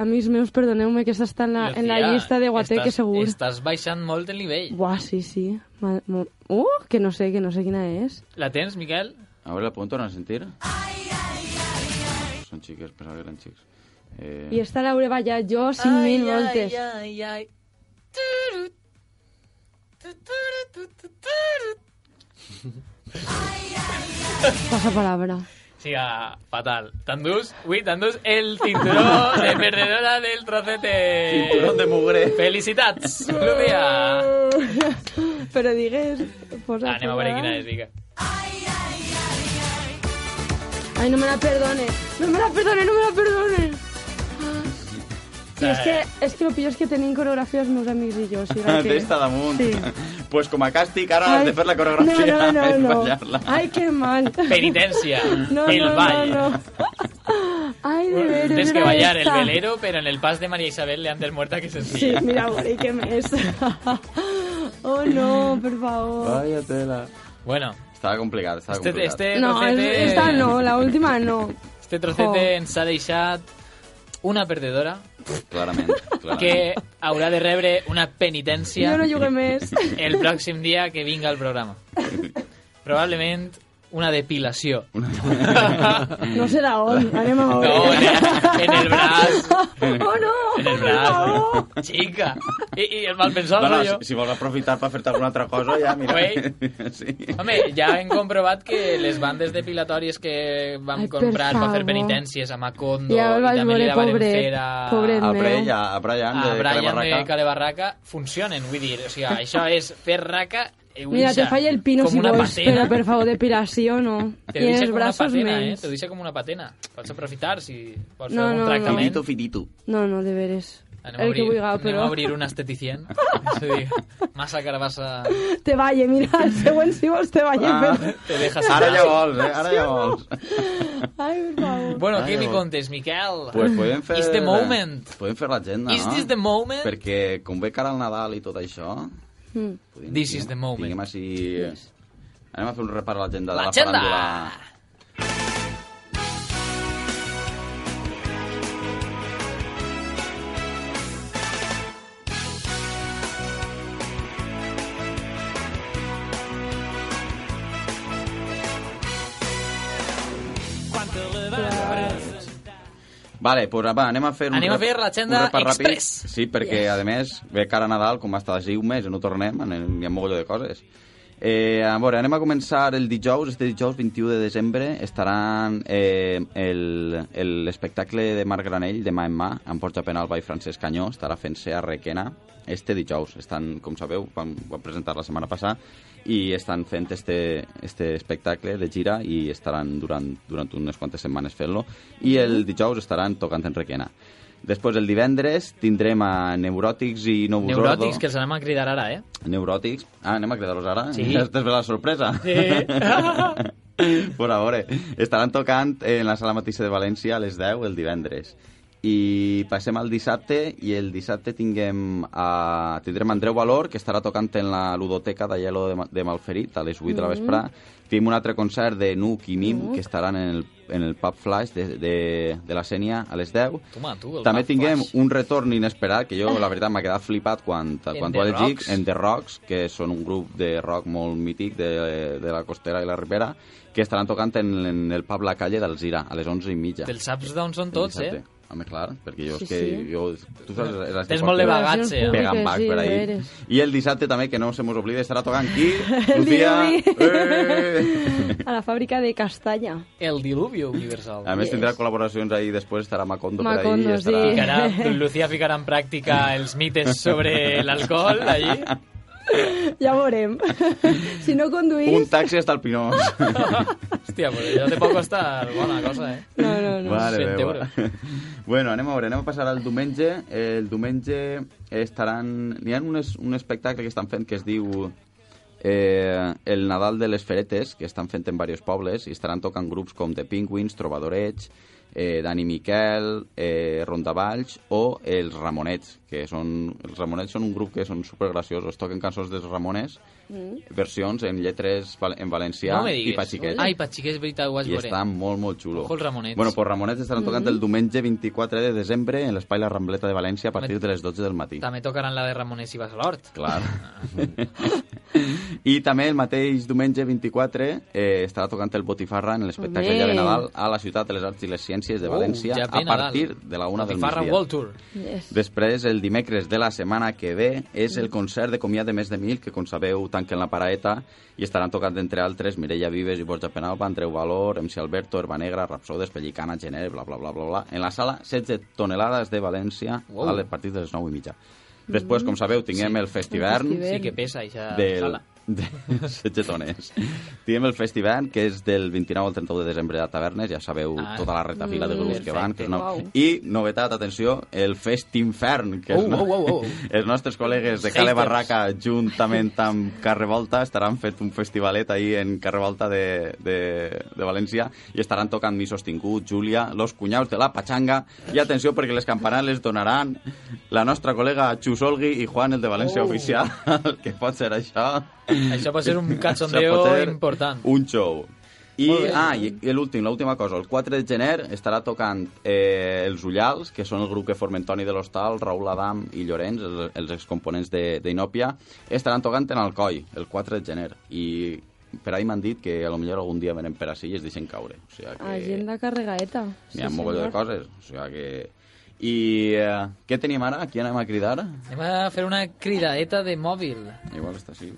S4: Amics meus, perdoneu-me, que està en la, en la
S3: Lucía,
S4: llista de Guateque,
S3: estàs-
S4: segur.
S3: Estàs baixant molt el nivell.
S4: Buah, sí, sí. Ma- mo- Uh, que no sé, que no sé quina és.
S3: La tens, Miquel?
S5: A ver, la apunto, ¿no a sentir? Son chicas, pensaba que eran chicas. Eh,
S4: I esta l'hauré ballat jo 5.000 voltes.
S3: Ai, ai, ai.
S4: Passa palabra.
S3: Siga, ah, fatal. Tandús, uy, Tandús, el cinturón de perdedora del trocete.
S5: Cinturón de mugre.
S3: Felicitats, Lucía.
S4: però digues... Posa
S3: Anem a veure quina és, vinga.
S4: Ai, no me la perdone. No me la perdone, no me la perdone. Sí, és que, és que el pitjor és que tenim coreografia els meus amics i jo. O sigui, que...
S5: Testa damunt.
S4: Sí.
S5: Pues com a càstig, ara has de fer la
S4: No,
S5: coreografia
S4: no, no,
S5: i
S4: no.
S5: ballar-la.
S4: Ai, que mal.
S3: Penitencia,
S4: No,
S3: el
S4: no,
S3: ball.
S4: no, no. Ay, de veras.
S3: Tienes que
S4: era
S3: bailar el
S4: esta.
S3: velero, pero en el pas de María Isabel le antes muerta que
S4: Sí,
S3: sencilla.
S4: mira, Uri, qué mes. oh, no, por favor.
S5: Vaya tela.
S3: Bueno.
S5: Estaba complicado, estaba
S3: Este-
S5: complicado.
S3: este-
S4: No,
S3: Procede-
S4: es- esta no, la última no.
S3: Este trocete
S4: Jo.
S3: en Sadie Chat, una perdedora.
S5: Claramente,
S3: Que
S5: claramente.
S3: haurà de rebre una penitència
S4: Jo no jugué més.
S3: el pròxim dia que vinga al programa. Probablement una depilació.
S4: No será on, anem a on.
S3: No, en el, en el braç,
S4: Oh, no.
S3: en el braç. Xica! I, i el malpensat,
S5: No, no,
S3: jo.
S5: si, si vols aprofitar per fer-te alguna altra cosa, ja, mira. Sí.
S3: Home, ja hem comprovat que les bandes depilatòries que vam
S4: Ai, per
S3: comprar per fer
S4: favor.
S3: penitències a Macondo
S4: Ja el
S3: i
S4: vaig
S3: també li
S4: veure,
S3: la varen
S4: pobret,
S3: fer a...
S4: pobret
S5: A Preya, a Brian,
S3: a
S5: de
S3: Brian de
S5: Calabarraca.
S3: Calebarraca funcionen, vull dir, o sigui, això és fer raca i ho
S4: Mira,
S3: deixa
S4: te falla el pino
S3: com
S4: si
S3: una
S4: vols,
S3: patena.
S4: però per favor, depilació no.
S3: Te
S4: I
S3: deixa
S4: els
S3: com una
S4: braços
S3: patena, eh?
S4: menys.
S3: Te deixa com una patena. Pots aprofitar si vols
S4: No,
S3: fer un
S4: no, no.
S3: tractament.
S4: Finito,
S5: finito.
S4: No, no, de veres.
S3: Anem a
S4: El
S3: obrir,
S4: que vulga,
S3: anem a
S4: però...
S3: obrir un esteticien. Sí, massa carabassa
S4: Te valle, mira, el següent si vols te valle.
S3: Ah.
S4: però-
S3: te dejas
S5: Ara
S3: atrás.
S5: ja vols, eh? Ara ja vols.
S4: Ai, per favor.
S3: Bueno,
S5: Ai,
S3: què me
S5: bo.
S3: contes, Miquel?
S5: Pues podem fer...
S3: Is the moment.
S5: Podem fer l'agenda, no?
S3: Is this the moment?
S5: Perquè com ve cara al Nadal i tot això...
S4: Mm.
S5: podem-
S3: This is the moment.
S5: Tinguem així... Anem a fer un repàs a l'agenda de la
S3: L'agenda!
S5: faràndula. Vale, pues va, anem a fer un
S3: Anem a
S5: rep-
S3: fer l'agenda
S5: un repàs ràpid.
S3: express.
S5: Sí, perquè, a més, ve cara a Nadal, com hasta d'ací un mes, i no tornem, anem- hi ha mogolló de coses. Eh, a veure, anem a començar el dijous, este dijous 21 de desembre estaran eh, el- el- l'espectacle de Marc Granell de mà en mà en Porta Penal by Francesc Canyó estarà fent-se a Requena este dijous, estan, com sabeu, vam, vam presentar la setmana passada i estan fent este, este espectacle de gira i estaran durant, durant unes quantes setmanes fent-lo i el dijous estaran tocant en Requena. Després, el divendres, tindrem a Neuròtics i Novus
S3: Neuròtics,
S5: Ordo.
S3: que els anem a cridar ara, eh?
S5: Neuròtics. Ah, anem a cridar-los ara?
S3: Sí.
S5: Ja es desvela la sorpresa. Pues a veure, estaran tocant en la sala mateixa de València a les 10 el divendres. I passem al dissabte, i el dissabte tinguem a, tindrem Andreu Valor, que estarà tocant en la ludoteca de Hielo de, Ma- de Malferit a les 8 de la
S4: Mm.
S5: vesprà. Tenim un altre concert de Nuc i Nim,
S4: Nuc.
S5: que estaran en el, en el Pub Flash de, de, de la Sènia a les 10.
S3: Toma, tu, el
S5: També
S3: Pub
S5: tinguem
S3: Flash.
S5: un retorn inesperat, que jo, la veritat, m'ha quedat flipat quan, quan
S3: The
S5: ho ha llegit,
S3: Rocks.
S5: en The Rocks, que són un grup de rock molt mític de, de la costera i la ribera, que estaran tocant en, en el pub La Calle d'Alzira, a les 11 i mitja.
S3: Te'l saps d'on són
S5: El
S3: tots, eh?
S5: dissabte. Home, clar, perquè jo
S4: Sí,
S5: és que...
S4: sí.
S5: Jo, tu saps... és la
S3: Tens molt de
S5: que-
S3: bagatge, eh?
S5: Pegant bac
S4: Sí,
S5: per
S4: de
S5: ahí.
S4: veres.
S5: I el dissabte també, que no se mos oblide, estarà tocant aquí,
S4: El
S5: Lucía...
S4: diluvi.
S5: Eh!
S4: A la fàbrica de castanya.
S3: El diluvio universal.
S5: A més, tindrà col·laboracions ahí, després estarà Macondo,
S4: Macondo,
S5: per ahí, estarà...
S4: sí.
S3: Ficarà, Lucía ficarà en pràctica els mites sobre l'alcohol, allí.
S4: Ja veurem. Si no
S5: Un
S4: conduís...
S5: taxi hasta el Pinós.
S3: Hòstia, però allò te pot costar bona cosa, eh?
S4: No, no, no.
S5: Vale,
S3: 100
S5: bé,
S3: euros.
S5: va. Bueno, anem a veure, anem a passar al diumenge. Eh, El diumenge estaran... N'hi ha un, es, un espectacle que estan fent que es diu eh, El Nadal de les Feretes, que estan fent en diversos pobles, i estaran tocant grups com The Penguins, Trobadorets, eh, Dani Miquel, eh, Rondavalls o els Ramonets, que són... Els Ramonets són un grup que són supergraciosos, toquen cançons dels Ramones, versions en lletres val- en valencià
S3: no me
S5: ah, i
S3: diguis.
S5: pa xiquets.
S3: Ai, Pachiquet, és veritat, ho has
S5: I
S3: veure.
S5: està molt, molt xulo.
S3: Ojo els Ramonets.
S5: Bueno, pues Ramonets estaran tocant el diumenge 24 de desembre en l'espai La Rambleta de València a partir de les 12 del matí.
S3: També tocaran la de Ramonets i vas a l'hort.
S5: Clar.
S3: Ah.
S5: I també el mateix diumenge 24 eh, estarà tocant el Botifarra en l'espectacle
S4: Home.
S5: ja de Nadal a la Ciutat de les Arts i les Ciències de
S3: Uh,
S5: València
S3: ja ve
S5: a partir
S3: Nadal.
S5: de la una del
S3: Botifarra
S5: migdia.
S3: World Tour.
S4: Yes.
S5: Després, el dimecres de la setmana que ve, és el concert de comiat de més de mil, que com sabeu tanquen la paraeta i estaran tocant, entre altres, Mireia Vives i Borja Penalba, Andreu Valor, MC Alberto, Herba Negra, Rapsodes, Pellicana, Gener, bla, bla, bla, bla, bla, en la sala 16 tonelades de València
S3: Wow.
S5: a les- a partir de les 9 i mitja. Després, com sabeu, tinguem el Festivern
S4: Festivern.
S3: Sí, que pesa, això.
S5: del,
S3: Sala.
S5: Setgetones. Tindrem el festival, que és del 29 al 31 de desembre a Tavernes, ja sabeu
S3: Ah,
S5: tota la retafila de grups
S3: perfecte.
S5: que van. Que no...
S3: Uau.
S5: I, novetat, atenció, el Fest Infern, que
S3: Oh,
S5: és, no-
S3: oh, oh, oh.
S5: els nostres col·legues de
S3: Haters.
S5: Cale Barraca, juntament amb Carrevolta, estaran fent un festivalet ahir en Carrevolta de, de, de València i estaran tocant Mi Sostingut, Júlia, Los Cunyaus de la Pachanga i atenció perquè les campanes les donaran la nostra col·lega Xus Olgui i Juan, el de València
S3: Oh.
S5: Oficial, que pot ser això.
S3: Això pot ser un cachondeo
S5: Això pot ser
S3: important.
S5: Un show. I,
S3: Molt bé.
S5: ah, i, i l'últim, l'última cosa. El 4 de gener estarà tocant eh, els Ullals, que són el grup que formen Toni de l'Hostal, Raül Adam i Llorenç, els, els excomponents de- d'Inòpia. Estaran tocant en Alcoi, el 4 de gener. I per ahí m'han dit que a lo millor algun dia venen per ací i es deixen caure. O sigui que...
S4: Agenda carregaeta.
S5: N'hi ha
S4: sí,
S5: un mogolló de
S4: senyor.
S5: coses. O sigui que... I eh, què tenim ara? Qui anem a cridar?
S3: Anem a fer una cridadeta de mòbil.
S5: Igual està així.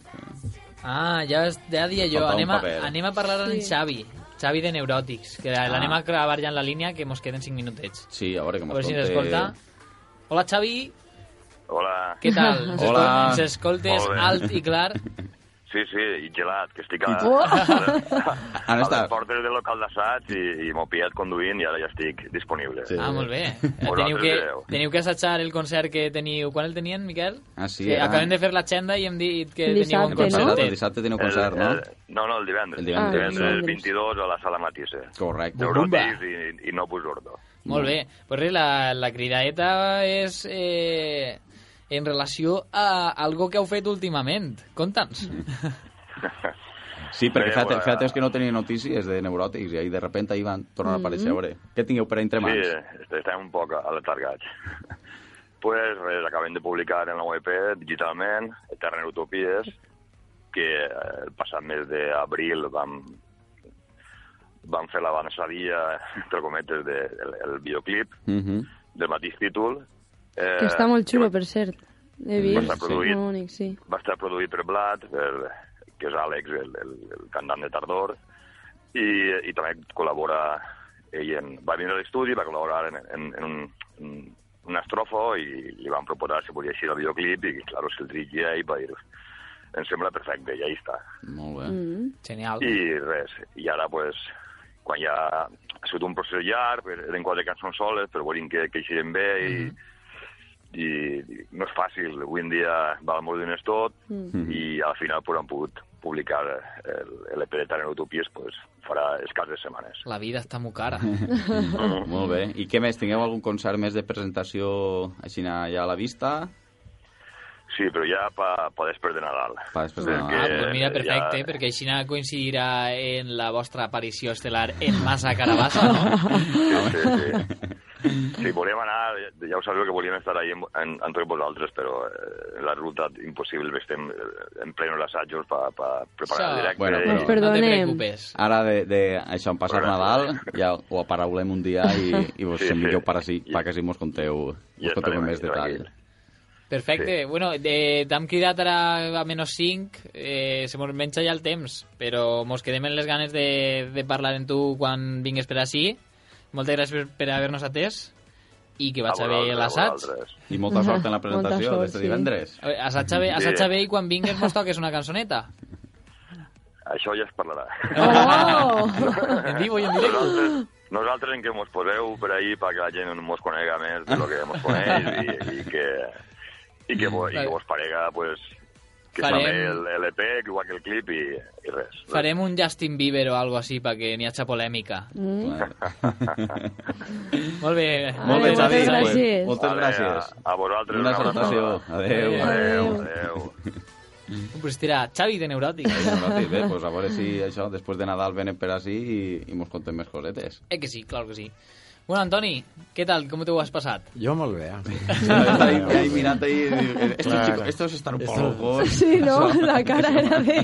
S3: Ah, ja, es- ja dia
S5: Em
S3: jo.
S5: faltava un
S3: Anem a,
S5: paper.
S3: anem a parlar amb en Xavi. Xavi de Neuròtics, que
S5: Ah.
S3: l'anem a clavar ja en la línia, que mos queden 5 minutets.
S5: Sí, a veure que
S3: A veure si ens
S5: m'escolte.
S3: escolta. Hola, Xavi.
S12: Hola.
S3: Què tal? Ens
S12: Hola.
S3: escol- Ens escoltes
S12: Molt bé.
S3: alt i clar?
S12: Sí, sí, i gelat, que estic a,
S3: Oh!
S12: a les portes del local d'assaig i, i m'ho he pillat conduint i ara ja estic disponible.
S5: Sí.
S3: Ah, molt bé.
S12: Vosaltres
S3: Teniu que,
S12: veieu.
S3: teniu que assajar el concert que teniu... Quan el tenien, Miquel?
S5: Ah, sí,
S3: que
S5: era-
S3: acabem de fer l'agenda i hem dit que teniu un
S5: El dissabte,
S3: concert.
S5: el dissabte teniu concert, no?
S12: El, Eh, no, no, el divendres.
S5: El divendres.
S12: El divendres,
S5: Ah, el divendres.
S12: 22 a la sala Matisse.
S5: Correcte.
S12: Neurotis i, i Nopus Ordo.
S3: Molt bé. Pues res, la, la cridaeta és eh, en relació a algo que heu fet últimament. Conta'ns.
S5: Sí, perquè
S12: Bé,
S5: fíjate,
S12: bueno.
S5: fíjate és que no tenia notícies de neuròtics i ahí de repente ahí van tornar a aparèixer. A veure, què tingueu per a entre mans?
S12: Sí, est- estem un poc aletargats. pues res, acabem de publicar en la web digitalment, Eterna Utopies, que eh, el passat mes d'abril vam, vam fer l'avançadia, entre cometes, del de, el, el videoclip
S5: Mhm.
S12: del mateix títol. Eh,
S4: Que està molt xulo, per cert. He vist.
S12: Està produït.
S4: Molt bonic, sí.
S12: va estar produït per Blat, per, que és Àlex, el, el, el cantant de Tardor, i, i també col·labora ell en, va venir a l'estudi, va col·laborar en, en, en un, en un estrofo i li van proposar si podia eixir el videoclip i, claro, se'l dirigia i va dir em sembla perfecte, i ahí està.
S5: Molt bé.
S4: Mm.
S3: Genial.
S12: I res, i ara, pues, quan ja ha sigut un procés llarg, per- eren quatre cançons soles, però volíem que, que eixiren bé i, i, i no és fàcil. Avui en dia val molt diners tot
S5: Mm-hmm.
S13: Mhm.
S12: i al final pues, han pogut publicar el- l'EP de Tarant Utopies pues, farà escasses setmanes.
S3: La vida està molt cara.
S5: Molt bé. I què més? Tingueu algun concert més de presentació així ja a la vista?
S12: Sí, però ja pa, pa després de Nadal.
S5: Pa després de
S3: Ah,
S5: Nadal.
S3: doncs mira, perfecte, perquè així coincidirà en la vostra aparició estel·lar en Massa Carabassa, no?
S12: Sí, sí, sí. Sí, volíem anar, eh, ja ho sabeu que volíem estar ahí amb, en, amb tots vosaltres, però eh, la ruta impossible, estem eh, en pleno assajos per pa, preparar
S3: Això-
S12: el directe.
S5: Bueno, però- No te
S3: preocupes.
S5: Ara de, de això en passar Nadal ja ho aparaulem un dia i, i vos
S12: Sí, sí.
S5: envieu per així, pa que si mos conteu,
S12: Ja
S5: us conteu
S12: estarem
S5: amb més
S12: aquí,
S5: detall.
S3: Perfecte. Bueno, de, t'hem cridat ara a menys 5, eh, se mos menja ja el temps, però mos quedem en les ganes de, de parlar amb tu quan vingues per ací. Moltes gràcies per, per haver-nos atès i que vaig
S5: A
S3: a bé
S5: vosaltres, a
S3: l'assaig.
S5: vosaltres. I molta sort en la Molta presentació sort, d'este sí. divendres.
S3: Eh, Assatja bé,
S12: Sí.
S3: assatja bé i quan vingues mos toques una cançoneta.
S12: Això ja es parlarà.
S3: Oh! En vivo i en directe.
S12: Nosaltres, nosaltres en què mos poseu per ahir perquè la gent mos conega més de lo que mos coneix i, i que, i que, vos, i que vos parega pues, que
S3: Farem-
S12: s'abre l'EP, igual que el clip i, i res.
S3: Farem un Justin Bieber o algo així perquè n'hi haja polèmica.
S4: Mm.
S3: Molt bé.
S5: Molt bé, Xavi. Pues, moltes
S12: Vale,
S5: gràcies.
S12: A, a vosaltres.
S5: Una
S12: abraçada.
S5: salutació. Adéu.
S12: Adéu. Adéu.
S3: Pues tira, Xavi de Neuròtics.
S5: Neuròtics, bé, pues a veure si això, després de Nadal venen per ací i, i mos conten més cosetes.
S3: Eh que sí, claro que sí. Bueno, Antoni, què tal? Com t'ho has passat?
S6: Jo molt bé.
S5: ahí- ahí mirant ahí, "Eh, estos chicos-
S6: estos están un
S5: poco locos.
S4: Sí, no, la cara era de...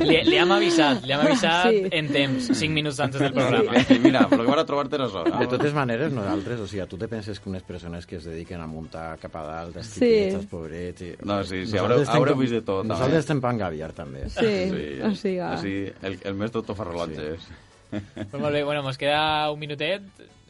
S3: Li, li hem avisat, li hem avisat
S4: Sí.
S3: en temps, 5 minuts antes del programa.
S5: Sí, mira, però que van a trobar-te no són.
S6: De totes maneres, nosaltres, o sigui, tu te penses que unes persones que es dediquen a muntar cap a dalt, els
S4: Sí.
S6: tiquets, els pobrets... I...
S5: No, sí, sí,
S6: Nosaltres
S5: haureu-
S6: estem
S5: haureu
S6: com-
S5: vist de tot, també.
S6: Nosaltres estem pan gaviar, també.
S4: Sí, o siga.
S5: O sigui, el, el més doctor fa rellotges.
S3: Pues molt bé, bueno, mos queda un minutet.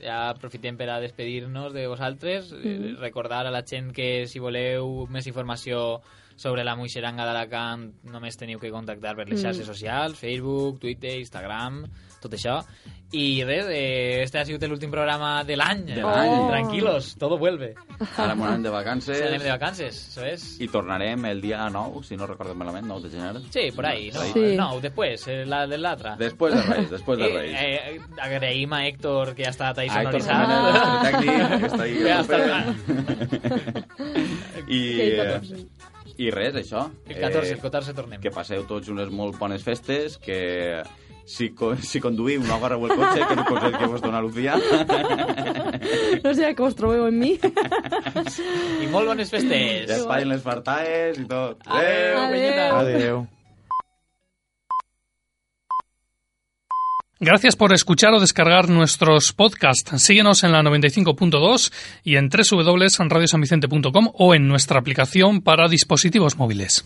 S3: ja aprofitem per a despedir-nos de vosaltres, mm. recordar a la gent que si voleu més informació sobre la Moixeranga d'Alacant només teniu que contactar per les
S13: Mm.
S3: xarxes socials, Facebook, Twitter, Instagram, tot això. I res, eh, este ha sigut l'últim programa de l'any.
S5: De l'any.
S3: Tranquilos, todo vuelve.
S5: Ara m'ho anem de vacances.
S3: Se anem de vacances, eso es.
S5: I tornarem el dia 9, si no recordo malament, 9 de gener.
S3: Sí, por ahí, ¿no?
S5: Sí.
S3: No, después, eh, la de l'altra.
S5: Després de Reis, després de
S3: Eh,
S5: Reis.
S3: eh, agraïm a Héctor, que ha estat ahí
S5: A Héctor
S3: sonoritzant.
S5: Jiménez, nostre tècnic, que està ahí
S3: Ja està.
S5: al I,
S3: Sí,
S5: eh,
S3: 14.
S5: I res, això.
S3: El 14,
S5: Eh,
S3: el 14 tornem.
S5: Que passeu tots unes molt bones festes, que si, co si conduïu no agarreu el cotxe, que no consell que vos dona Lucía.
S4: No sé que os trobeu en mi.
S3: I molt bones festes.
S5: Ja es paguen les fartaes i tot.
S4: Adéu,
S1: penyeta.
S6: Adéu.
S1: Gracias por escuchar o descargar nuestros podcasts. Síguenos en la 95.2 y en www.radiosanvicente.com o en nuestra aplicación para dispositivos móviles.